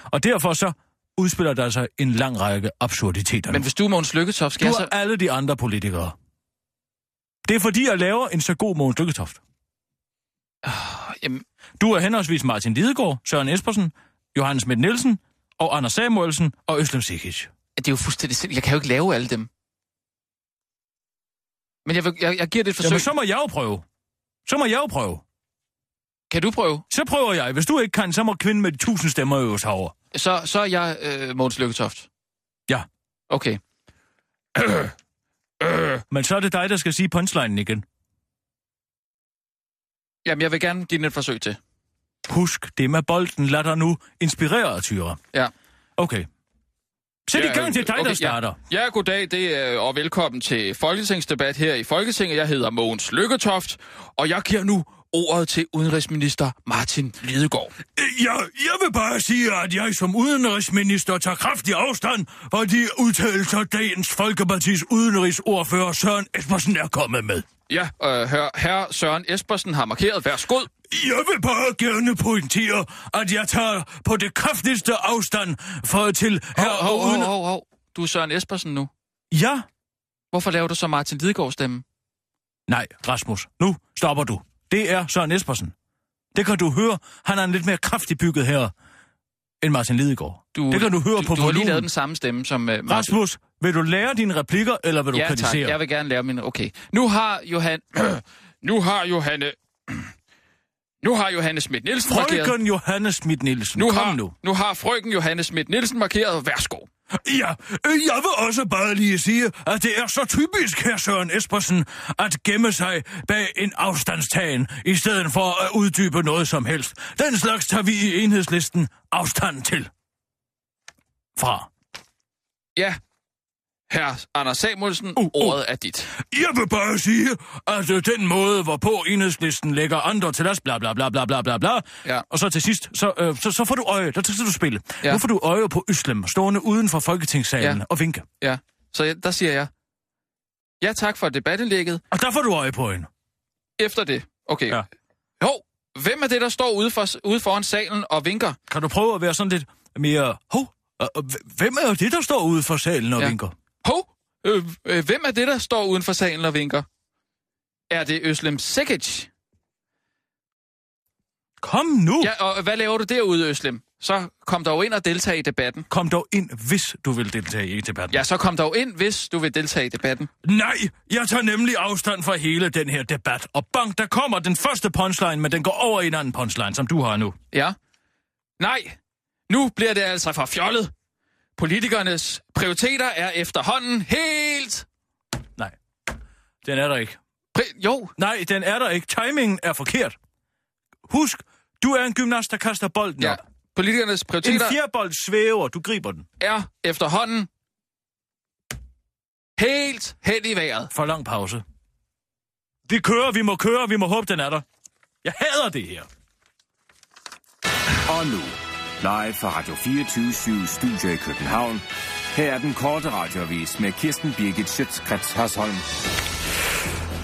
[SPEAKER 4] Og derfor så udspiller der sig en lang række absurditeter.
[SPEAKER 5] Men
[SPEAKER 4] Men
[SPEAKER 5] hvis du er Mogens Lykketoft, skal
[SPEAKER 4] du
[SPEAKER 5] jeg
[SPEAKER 4] og
[SPEAKER 5] så...
[SPEAKER 4] alle de andre politikere. Det er fordi, jeg laver en så god Mogens Lykketoft.
[SPEAKER 5] Jamen,
[SPEAKER 4] Du er henholdsvis Martin Lidegaard, Søren Espersen, Johannes Schmidt Nielsen og Anders Samuelsen og Øslem Sikic.
[SPEAKER 5] det er jo fuldstændig sindssygt. Jeg kan jo ikke lave alle dem. Men jeg, vil, jeg, jeg giver det et forsøg.
[SPEAKER 4] Jamen, så må jeg jo prøve. Så må jeg jo prøve.
[SPEAKER 5] Kan du prøve?
[SPEAKER 4] Så prøver jeg. Hvis du ikke kan, så må kvinden med de tusind stemmer øves herover.
[SPEAKER 5] Så, så er jeg øh, Mogens Lykketoft.
[SPEAKER 4] Ja.
[SPEAKER 5] Okay.
[SPEAKER 4] Men så er det dig, der skal sige punchlinen igen.
[SPEAKER 5] Jamen, jeg vil gerne give den et forsøg til.
[SPEAKER 4] Husk, det med bolden lad dig nu inspirere af tyre.
[SPEAKER 5] Ja.
[SPEAKER 4] Okay. Sæt i
[SPEAKER 5] Ja,
[SPEAKER 4] gang til dig,
[SPEAKER 5] okay,
[SPEAKER 4] der starter.
[SPEAKER 5] Ja, ja goddag det er, øh, og velkommen til Folketingsdebat her i Folketinget. Jeg hedder Mogens Lykketoft, og jeg giver nu ordet til udenrigsminister Martin Lidegaard.
[SPEAKER 4] Jeg, jeg vil bare sige, at jeg som udenrigsminister tager kraftig afstand fra de udtalelser, dagens Folkepartis udenrigsordfører Søren Espersen er kommet med.
[SPEAKER 5] Ja, øh, hør, herre Søren Espersen har markeret. Værsgod.
[SPEAKER 4] Jeg vil bare gerne pointere, at jeg tager på det kraftigste afstand for til
[SPEAKER 5] Hov,
[SPEAKER 4] her
[SPEAKER 5] hov,
[SPEAKER 4] og
[SPEAKER 5] hov,
[SPEAKER 4] uden...
[SPEAKER 5] hov, hov. Du er Søren Espersen nu.
[SPEAKER 4] Ja?
[SPEAKER 5] Hvorfor laver du så Martin Lidegaard stemme?
[SPEAKER 4] Nej, Rasmus. Nu stopper du. Det er Søren Espersen. Det kan du høre. Han er en lidt mere kraftig bygget her end Martin Lidegaard.
[SPEAKER 5] Du,
[SPEAKER 4] det kan du høre
[SPEAKER 5] du,
[SPEAKER 4] på
[SPEAKER 5] Du har lige
[SPEAKER 4] volumen.
[SPEAKER 5] lavet den samme stemme som øh, Martin.
[SPEAKER 4] Rasmus, vil du lære dine replikker, eller vil du
[SPEAKER 5] ja,
[SPEAKER 4] kritisere?
[SPEAKER 5] tak. Jeg vil gerne lave mine... Okay. Nu har Johan... nu har Johanne... nu har Johanne Schmidt Nielsen markeret...
[SPEAKER 4] Frøken Johannes Schmidt Nielsen,
[SPEAKER 5] Nu
[SPEAKER 4] kom
[SPEAKER 5] har,
[SPEAKER 4] nu.
[SPEAKER 5] nu har frøken Johanne Schmidt Nielsen markeret. Værsgo.
[SPEAKER 4] Ja, øh, jeg vil også bare lige sige, at det er så typisk, her Søren Espersen, at gemme sig bag en afstandstagen, i stedet for at uddybe noget som helst. Den slags tager vi i enhedslisten afstand til. Fra.
[SPEAKER 5] Ja. Herr Anders Samuelsen,
[SPEAKER 4] Uh, uh.
[SPEAKER 5] ordet er dit.
[SPEAKER 4] Jeg vil bare sige, at øh, den måde, hvorpå enhedslisten lægger andre til os, bla bla bla bla bla bla bla,
[SPEAKER 5] Ja.
[SPEAKER 4] og så til sidst, så, øh, så, så får du øje, der skal du spille.
[SPEAKER 5] Ja.
[SPEAKER 4] Ja. Nu får du øje på Øslem, stående uden for Folketingssalen
[SPEAKER 5] Ja.
[SPEAKER 4] ja. og vinke.
[SPEAKER 5] Ja. Så jeg, der siger jeg... Ja, tak for debatindlægget.
[SPEAKER 4] Og der får du øje på hende.
[SPEAKER 5] Efter det. Okay.
[SPEAKER 4] Ja.
[SPEAKER 5] Jo, hvem er det, der står ude, for, ude foran salen og vinker?
[SPEAKER 4] Kan du prøve at være sådan lidt mere... Hov, øh, øh, hvem er jo det, der står ude for salen og
[SPEAKER 5] Ja.
[SPEAKER 4] ja. vinker?
[SPEAKER 5] Hov, øh, øh, hvem er det, der står uden for salen og vinker? Er det Øslem Sekic?
[SPEAKER 4] Kom nu! Ja.
[SPEAKER 5] Ja, og hvad laver du derude, Øslem? Så kom dog ind og deltag i debatten.
[SPEAKER 4] Kom dog ind, hvis du vil deltage i debatten.
[SPEAKER 5] Ja, så kom dog ind, hvis du vil deltage i debatten.
[SPEAKER 4] Nej, jeg tager nemlig afstand fra hele den her debat. Og bang, der kommer den første punchline, men den går over i en anden punchline, som du har nu.
[SPEAKER 5] Ja. Nej, nu bliver det altså for fjollet. Politikernes prioriteter er efterhånden helt...
[SPEAKER 4] Nej, den er der ikke.
[SPEAKER 5] Pri- jo,
[SPEAKER 4] Nej, den er der ikke. Timingen er forkert. Husk, du er en gymnast, der kaster bolden
[SPEAKER 5] ja.
[SPEAKER 4] op.
[SPEAKER 5] Politikernes
[SPEAKER 4] En
[SPEAKER 5] prioriteter
[SPEAKER 4] fjerbold svæver, du griber den.
[SPEAKER 5] er efterhånden Helt hen i vejret.
[SPEAKER 4] For lang pause. Vi kører, vi må køre, vi må håbe, den er der. Jeg hader det her.
[SPEAKER 6] Og nu, live fra Radio 24 Studio i København. Her er den korte radiovis med Kirsten Birgit Schøtzgrads Hasholm.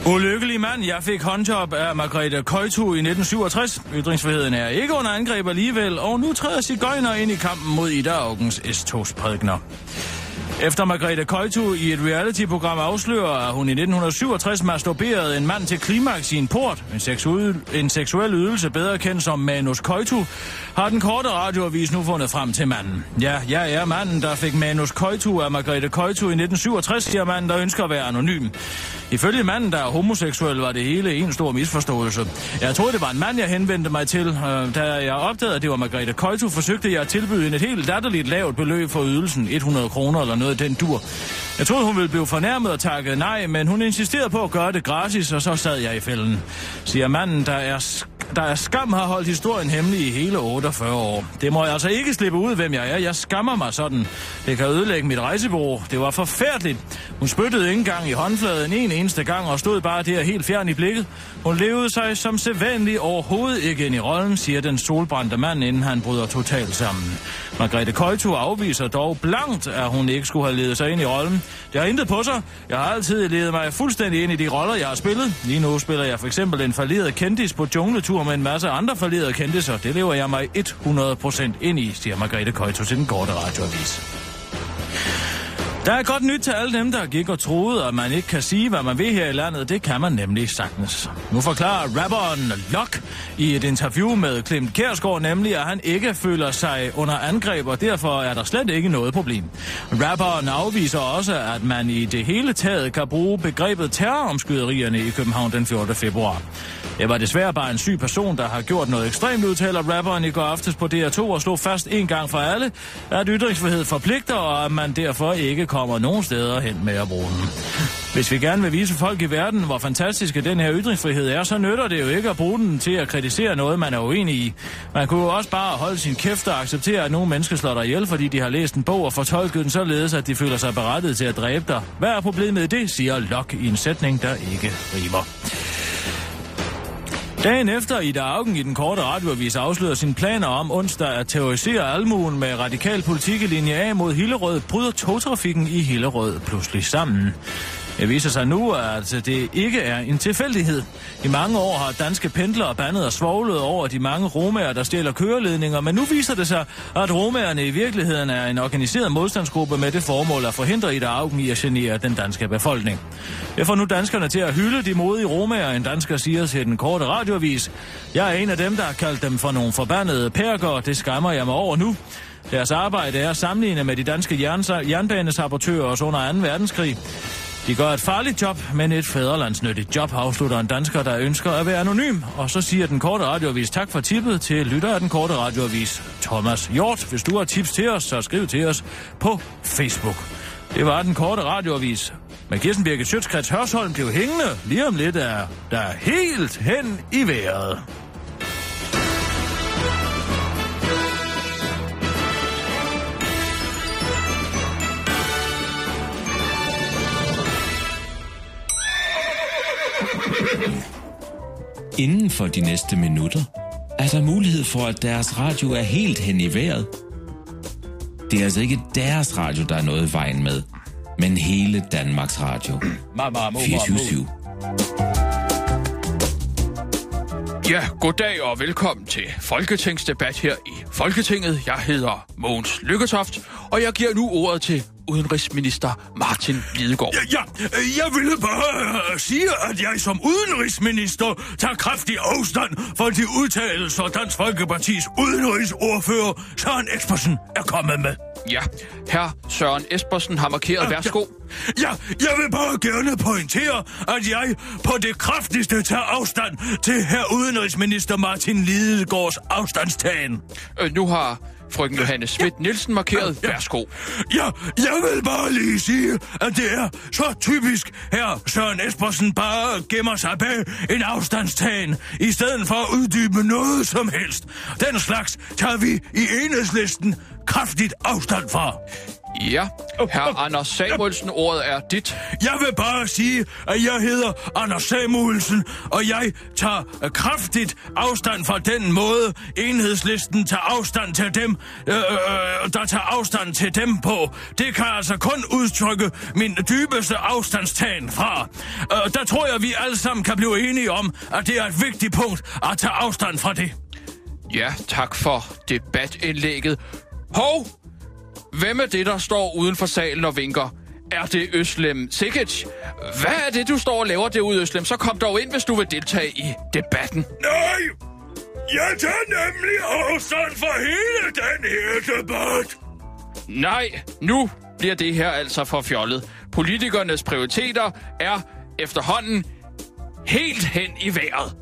[SPEAKER 4] Ulykkelig mand, jeg fik håndjob af Margrethe Køjtu i 1967. Ytringsfriheden er ikke under angreb alligevel, og nu træder Sigøjner ind i kampen mod Ida Augens S-togs prædikner. Efter Margrethe Køjtu i et reality-program afslører, at hun i 1967 masturberede en mand til klimaks i en port, en, seksuel, en seksuel ydelse bedre kendt som Manus Køjtu, har den korte radioavis nu fundet frem til manden. Ja, jeg er manden, der fik Manus Køjtu af Margrethe Køjtu i 1967, siger manden, der ønsker at være anonym. Ifølge manden, der er homoseksuel, var det hele en stor misforståelse. Jeg troede, det var en mand, jeg henvendte mig til. Øh, Da jeg opdagede, at det var Margrethe Køjtu, forsøgte jeg at tilbyde hende et helt latterligt lavt beløb for ydelsen, 100 kroner eller noget af den dur. Jeg troede, hun ville blive fornærmet og takkede nej, men hun insisterede på at gøre det gratis, og så sad jeg i fælden, siger manden, der er sk- der er skam har holdt historien hemmelig i hele 48 år. Det må jeg altså ikke slippe ud, hvem jeg er. Jeg skammer mig sådan. Det kan ødelægge mit rejsebureau. Det var forfærdeligt. Hun spyttede ikke engang i håndfladen en eneste gang og stod bare der helt fjern i blikket. Hun levede sig som sædvanlig overhovedet ikke ind i rollen, siger den solbrændte mand, inden han bryder totalt sammen. Margrethe Køjtu afviser dog blankt, at hun ikke skulle have ledet sig ind i rollen. Det har intet på sig. Jeg har altid ledet mig fuldstændig ind i de roller, jeg har spillet. Lige nu spiller jeg for eksempel en falderet kendis på jungletur med en masse andre falderede kendiser. Det lever jeg mig 100% ind i, siger Margrethe Køjtu til den korte radioavis. Der er godt nyt til alle dem, der gik og troede, at man ikke kan sige, hvad man vil her i landet. Det kan man nemlig sagtens. Nu forklarer rapperen Lok i et interview med Clemt Kærsgaard nemlig, at han ikke føler sig under angreb, og derfor er der slet ikke noget problem. Rapperen afviser også, at man i det hele taget kan bruge begrebet terroromskyderierne i København den 14. februar. Det var desværre bare en syg person, der har gjort noget ekstremt, udtaler rapperen i går aftes på DR2 og slog fast en gang for alle, at ytringsfrihed forpligter, og at man derfor ikke kommer nogen steder hen med at bruge den. Hvis vi gerne vil vise folk i verden, hvor fantastiske den her ytringsfrihed er, så nytter det jo ikke at bruge den til at kritisere noget, man er uenig i. Man kunne jo også bare holde sin kæft og acceptere, at nogle mennesker slår dig ihjel, fordi de har læst en bog og fortolket den således, at de føler sig berettiget til at dræbe dig. Hvad er problemet i det, siger Locke i en sætning, der ikke rimer. Dagen efter Ida Augen i den korte radioavis afslører sine planer om onsdag at terrorisere almuen med radikal politik i linje A mod Hillerød, bryder togtrafikken i Hillerød pludselig sammen. Det viser sig nu, at det ikke er en tilfældighed. I mange år har danske pendlere bandet og svoglet over de mange romager, der stjæler køreledninger, men nu viser det sig, at romagerne i virkeligheden er en organiseret modstandsgruppe med det formål at forhindre Ida Augen i at genere den danske befolkning. Jeg får nu danskerne til at hylde de modige romager, en dansker siger til den korte radioavis. Jeg er en af dem, der har kaldt dem for nogle forbandede perker, det skammer jeg mig over nu. Deres arbejde er sammenlignet med de danske jern- jernbanesabotører også under 2. verdenskrig. De gør et farligt job, men et fædrelandsnyttigt job, afslutter en dansker, der ønsker at være anonym. Og så siger den korte radioavis tak for tippet til lytter af den korte radioavis Thomas Hjort. Hvis du har tips til os, så skriv til os på Facebook. Det var den korte radioavis. Men Kirsten Birgit Sjøtskrets Hørsholm blev hængende lige om lidt af, der er helt hen i vejret.
[SPEAKER 10] Inden for de næste minutter er der mulighed for, at deres radio er helt hen i vejret. Det er altså ikke deres radio, der er noget i vejen med, men hele Danmarks Radio.
[SPEAKER 4] Ma, ma, mo, ma, mo.
[SPEAKER 10] 24
[SPEAKER 5] Ja, goddag og velkommen til Folketingsdebat her i Folketinget. Jeg hedder Mogens Lykketoft, og jeg giver nu ordet til udenrigsminister Martin Lidegaard.
[SPEAKER 4] Ja, ja, øh, jeg ville bare øh, sige, at jeg som udenrigsminister tager kraftig afstand fra de udtalelser, Dansk Folkepartis udenrigsordfører Søren Espersen er kommet med.
[SPEAKER 5] Ja, herr Søren Espersen har markeret. Værsgo.
[SPEAKER 4] Ja, jeg vil bare gerne pointere, at jeg på det kraftigste tager afstand til herr udenrigsminister Martin Lidegaards afstandstagen.
[SPEAKER 5] Øh, Nu har frøken Johanne Schmidt Nielsen markeret. Værsgo.
[SPEAKER 4] Ja, jeg vil bare lige sige, at det er så typisk her, Søren Espersen bare gemmer sig bag en afstandstagen, i stedet for at uddybe noget som helst. Den slags tager vi i enhedslisten kraftigt afstand fra.
[SPEAKER 5] Ja, herr Anders Samuelsen, ordet er dit.
[SPEAKER 4] Jeg vil bare sige, at jeg hedder Anders Samuelsen, og jeg tager øh, kraftigt afstand fra den måde, enhedslisten tager afstand til dem, øh, øh, der tager afstand til dem på. Det kan altså kun udtrykke min dybeste afstandstagen fra. Øh, der tror jeg, vi alle sammen kan blive enige om, at det er et vigtigt punkt at tage afstand fra det.
[SPEAKER 5] Ja, tak for debatindlægget. Hov! Hvem er det, der står uden for salen og vinker? Er det Øslem Sikic? Hvad er det, du står og laver derude, Øslem? Så kom dog ind, hvis du vil deltage i debatten.
[SPEAKER 4] Nej! Jeg tager nemlig afstand fra hele den her debat!
[SPEAKER 5] Nej, nu bliver det her altså for fjollet. Politikernes prioriteter er efterhånden helt hen i vejret.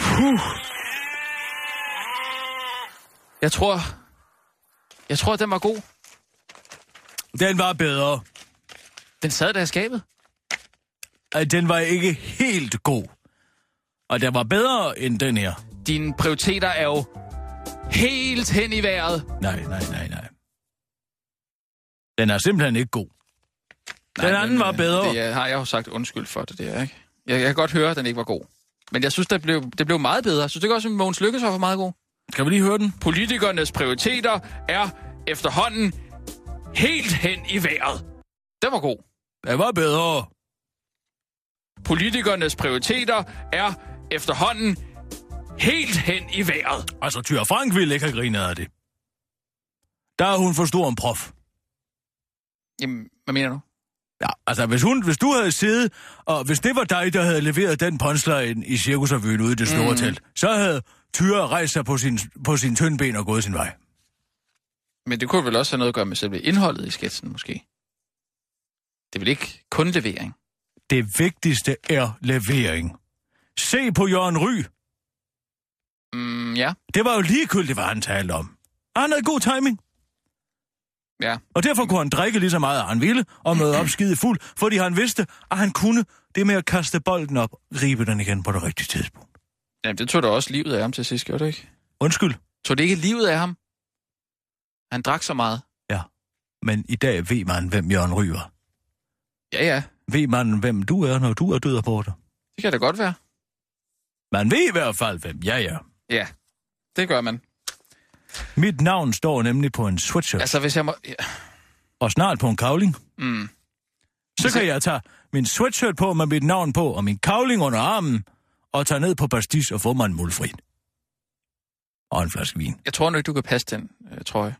[SPEAKER 5] Puh. Jeg tror, jeg tror, den var god.
[SPEAKER 4] Den var bedre.
[SPEAKER 5] Den sad der i skabet.
[SPEAKER 4] Ej, Den var ikke helt god. Og den var bedre end den her.
[SPEAKER 5] Dine prioriteter er jo helt hen i vejret.
[SPEAKER 4] Nej, nej, nej, nej. Den er simpelthen ikke god. Den
[SPEAKER 5] Nej,
[SPEAKER 4] anden
[SPEAKER 5] men,
[SPEAKER 4] var
[SPEAKER 5] øh,
[SPEAKER 4] bedre.
[SPEAKER 5] Det øh, har jeg jo sagt undskyld for det der, ikke? Jeg, jeg kan godt høre, at den ikke var god. Men jeg synes, det blev, det blev meget bedre. Synes du ikke også, at Mogens Lykkes var for meget god?
[SPEAKER 4] Kan vi lige høre den?
[SPEAKER 5] Politikernes prioriteter er efterhånden helt hen i vejret. Den var god.
[SPEAKER 4] Den var bedre.
[SPEAKER 5] Politikernes prioriteter er efterhånden helt hen i vejret.
[SPEAKER 4] Altså, Tyre Frank ville ikke have grinet af det. Der er hun for stor en prof.
[SPEAKER 5] Jamen, hvad mener du?
[SPEAKER 4] Ja, altså hvis, hun, hvis du havde siddet, og hvis det var dig, der havde leveret den punchline i cirkusrevyen ude i det store mm. telt, så havde Tyre rejst sig på sin, på sin tynde ben og gået sin vej.
[SPEAKER 5] Men det kunne vel også have noget at gøre med selve indholdet i sketsen, måske? Det er vel ikke kun levering?
[SPEAKER 4] Det vigtigste er levering. Se på Jørgen Ry.
[SPEAKER 5] Mm, ja,
[SPEAKER 4] Det var jo ligegyldigt, hvad han talte om. Han havde god timing,
[SPEAKER 5] ja.
[SPEAKER 4] og derfor kunne han drikke lige så meget, han ville, og møde op skide fuld, fordi han vidste, at han kunne det med at kaste bolden op, gribe den igen på det rigtige tidspunkt.
[SPEAKER 5] Jamen, det tog da også livet af ham til sidst, gjorde det ikke?
[SPEAKER 4] Undskyld,
[SPEAKER 5] Tog det ikke livet af ham? Han drak så meget.
[SPEAKER 4] men i dag ved man, hvem Jørgen Ry var.
[SPEAKER 5] Ja, ja.
[SPEAKER 4] Ved man, hvem du er, når du er død og borte?
[SPEAKER 5] Det kan da godt være.
[SPEAKER 4] Man ved i hvert fald, hvem jeg er.
[SPEAKER 5] Ja, det gør man.
[SPEAKER 4] Mit navn står nemlig på en sweatshirt, altså...
[SPEAKER 5] Altså, hvis jeg må... Ja.
[SPEAKER 4] og snart på en kavling.
[SPEAKER 5] Mm.
[SPEAKER 4] Så kan jeg tage min sweatshirt på med mit navn på, og min kavling under armen, og tage ned på Bastis og få mig en mulfrin. Og en flaske vin.
[SPEAKER 5] Jeg tror nu ikke, du kan passe den øh, trøje.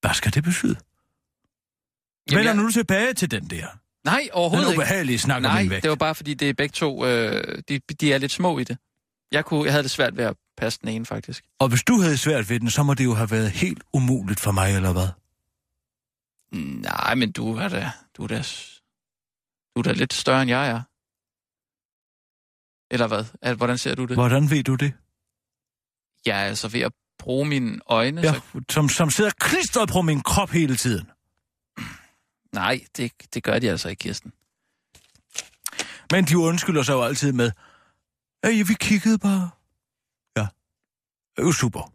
[SPEAKER 4] Hvad skal det betyde?
[SPEAKER 5] Jamen,
[SPEAKER 4] Vender
[SPEAKER 5] jeg-
[SPEAKER 4] nu tilbage til den der.
[SPEAKER 5] Nej, overhovedet
[SPEAKER 4] Den
[SPEAKER 5] ikke.
[SPEAKER 4] ubehagelige snak om
[SPEAKER 5] Nej,
[SPEAKER 4] min vægt.
[SPEAKER 5] det var bare, fordi det er begge to... Øh, de, de er lidt små i det. Jeg, kunne, jeg havde det svært ved at passe den ene, faktisk.
[SPEAKER 4] Og hvis du havde svært ved den, så må det jo have været helt umuligt for mig, eller hvad?
[SPEAKER 5] Nej, men du er da... Du er da, s- du er da lidt større, end jeg er. Eller hvad? At, hvordan ser du det?
[SPEAKER 4] Hvordan ved du det?
[SPEAKER 5] Jeg er altså ved at bruge mine øjne, ja.
[SPEAKER 4] Ja,
[SPEAKER 5] så
[SPEAKER 4] som, som sidder klistret på min krop hele tiden.
[SPEAKER 5] Nej, det, det gør de altså ikke, Kirsten.
[SPEAKER 4] Men de undskylder sig jo altid med, at vi kiggede bare. Ja, det er jo super.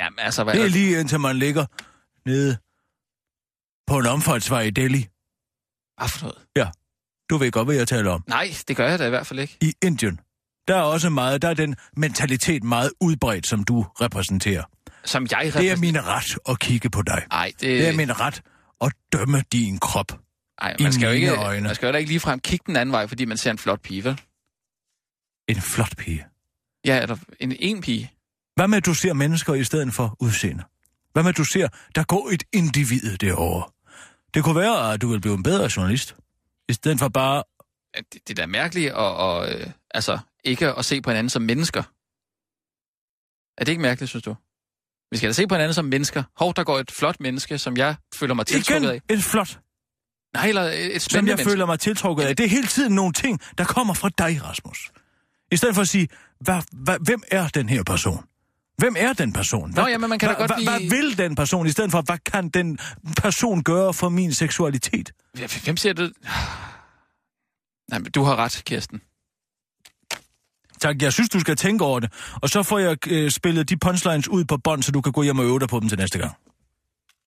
[SPEAKER 5] Jamen altså, hvad
[SPEAKER 4] Det er
[SPEAKER 5] lige...
[SPEAKER 4] lige indtil man ligger nede på en omfartsvej i Delhi.
[SPEAKER 5] Hvad for noget?
[SPEAKER 4] Du ved godt, hvad jeg taler om.
[SPEAKER 5] Nej, det gør jeg da i hvert fald ikke.
[SPEAKER 4] I Indien. Der er også meget, der er den mentalitet meget udbredt, som du repræsenterer.
[SPEAKER 5] Som jeg
[SPEAKER 4] Det er
[SPEAKER 5] repræsenterer. Øh.
[SPEAKER 4] min ret at kigge på dig.
[SPEAKER 5] Nej, det,
[SPEAKER 4] Det er min ret at dømme din krop.
[SPEAKER 5] Ej,
[SPEAKER 4] i
[SPEAKER 5] man skal jo
[SPEAKER 4] mine
[SPEAKER 5] ikke,
[SPEAKER 4] øjne.
[SPEAKER 5] man skal jo da ikke ligefrem kigge den anden vej, fordi man ser en flot pige, vel?
[SPEAKER 4] En flot pige.
[SPEAKER 5] Ja, er der en, en pige?
[SPEAKER 4] Hvad med, at du ser mennesker i stedet for udseende? Hvad med, at du ser, der går et individ derovre? Det kunne være, at du ville blive en bedre journalist. I stedet for bare...
[SPEAKER 5] Ja, Det, det er da mærkeligt at, og, øh, altså, ikke at se på hinanden som mennesker. Er det ikke mærkeligt, synes du? Vi skal da se på hinanden som mennesker. Hov, der går et flot menneske, som jeg føler mig tiltrukket
[SPEAKER 4] Igen
[SPEAKER 5] af.
[SPEAKER 4] et flot,
[SPEAKER 5] Nej, eller et- et
[SPEAKER 4] som
[SPEAKER 5] spændende
[SPEAKER 4] jeg
[SPEAKER 5] menneske.
[SPEAKER 4] føler mig tiltrukket af. Det er hele tiden nogle ting, der kommer fra dig, Rasmus. I stedet for at sige, hvad, hvad, hvem er den her person? Hvem er den person? Hvad,
[SPEAKER 5] Nå, jamen, man kan da
[SPEAKER 4] hvad,
[SPEAKER 5] godt
[SPEAKER 4] hvad,
[SPEAKER 5] blive-
[SPEAKER 4] hvad vil den person? I stedet for, hvad kan den person gøre for min seksualitet?
[SPEAKER 5] Hvem siger det? Nej, men du har ret, Kirsten.
[SPEAKER 4] Tak, jeg synes, du skal tænke over det. Og så får jeg øh, spillet de punchlines ud på bånd, så du kan gå hjem og øve dig på dem til næste gang.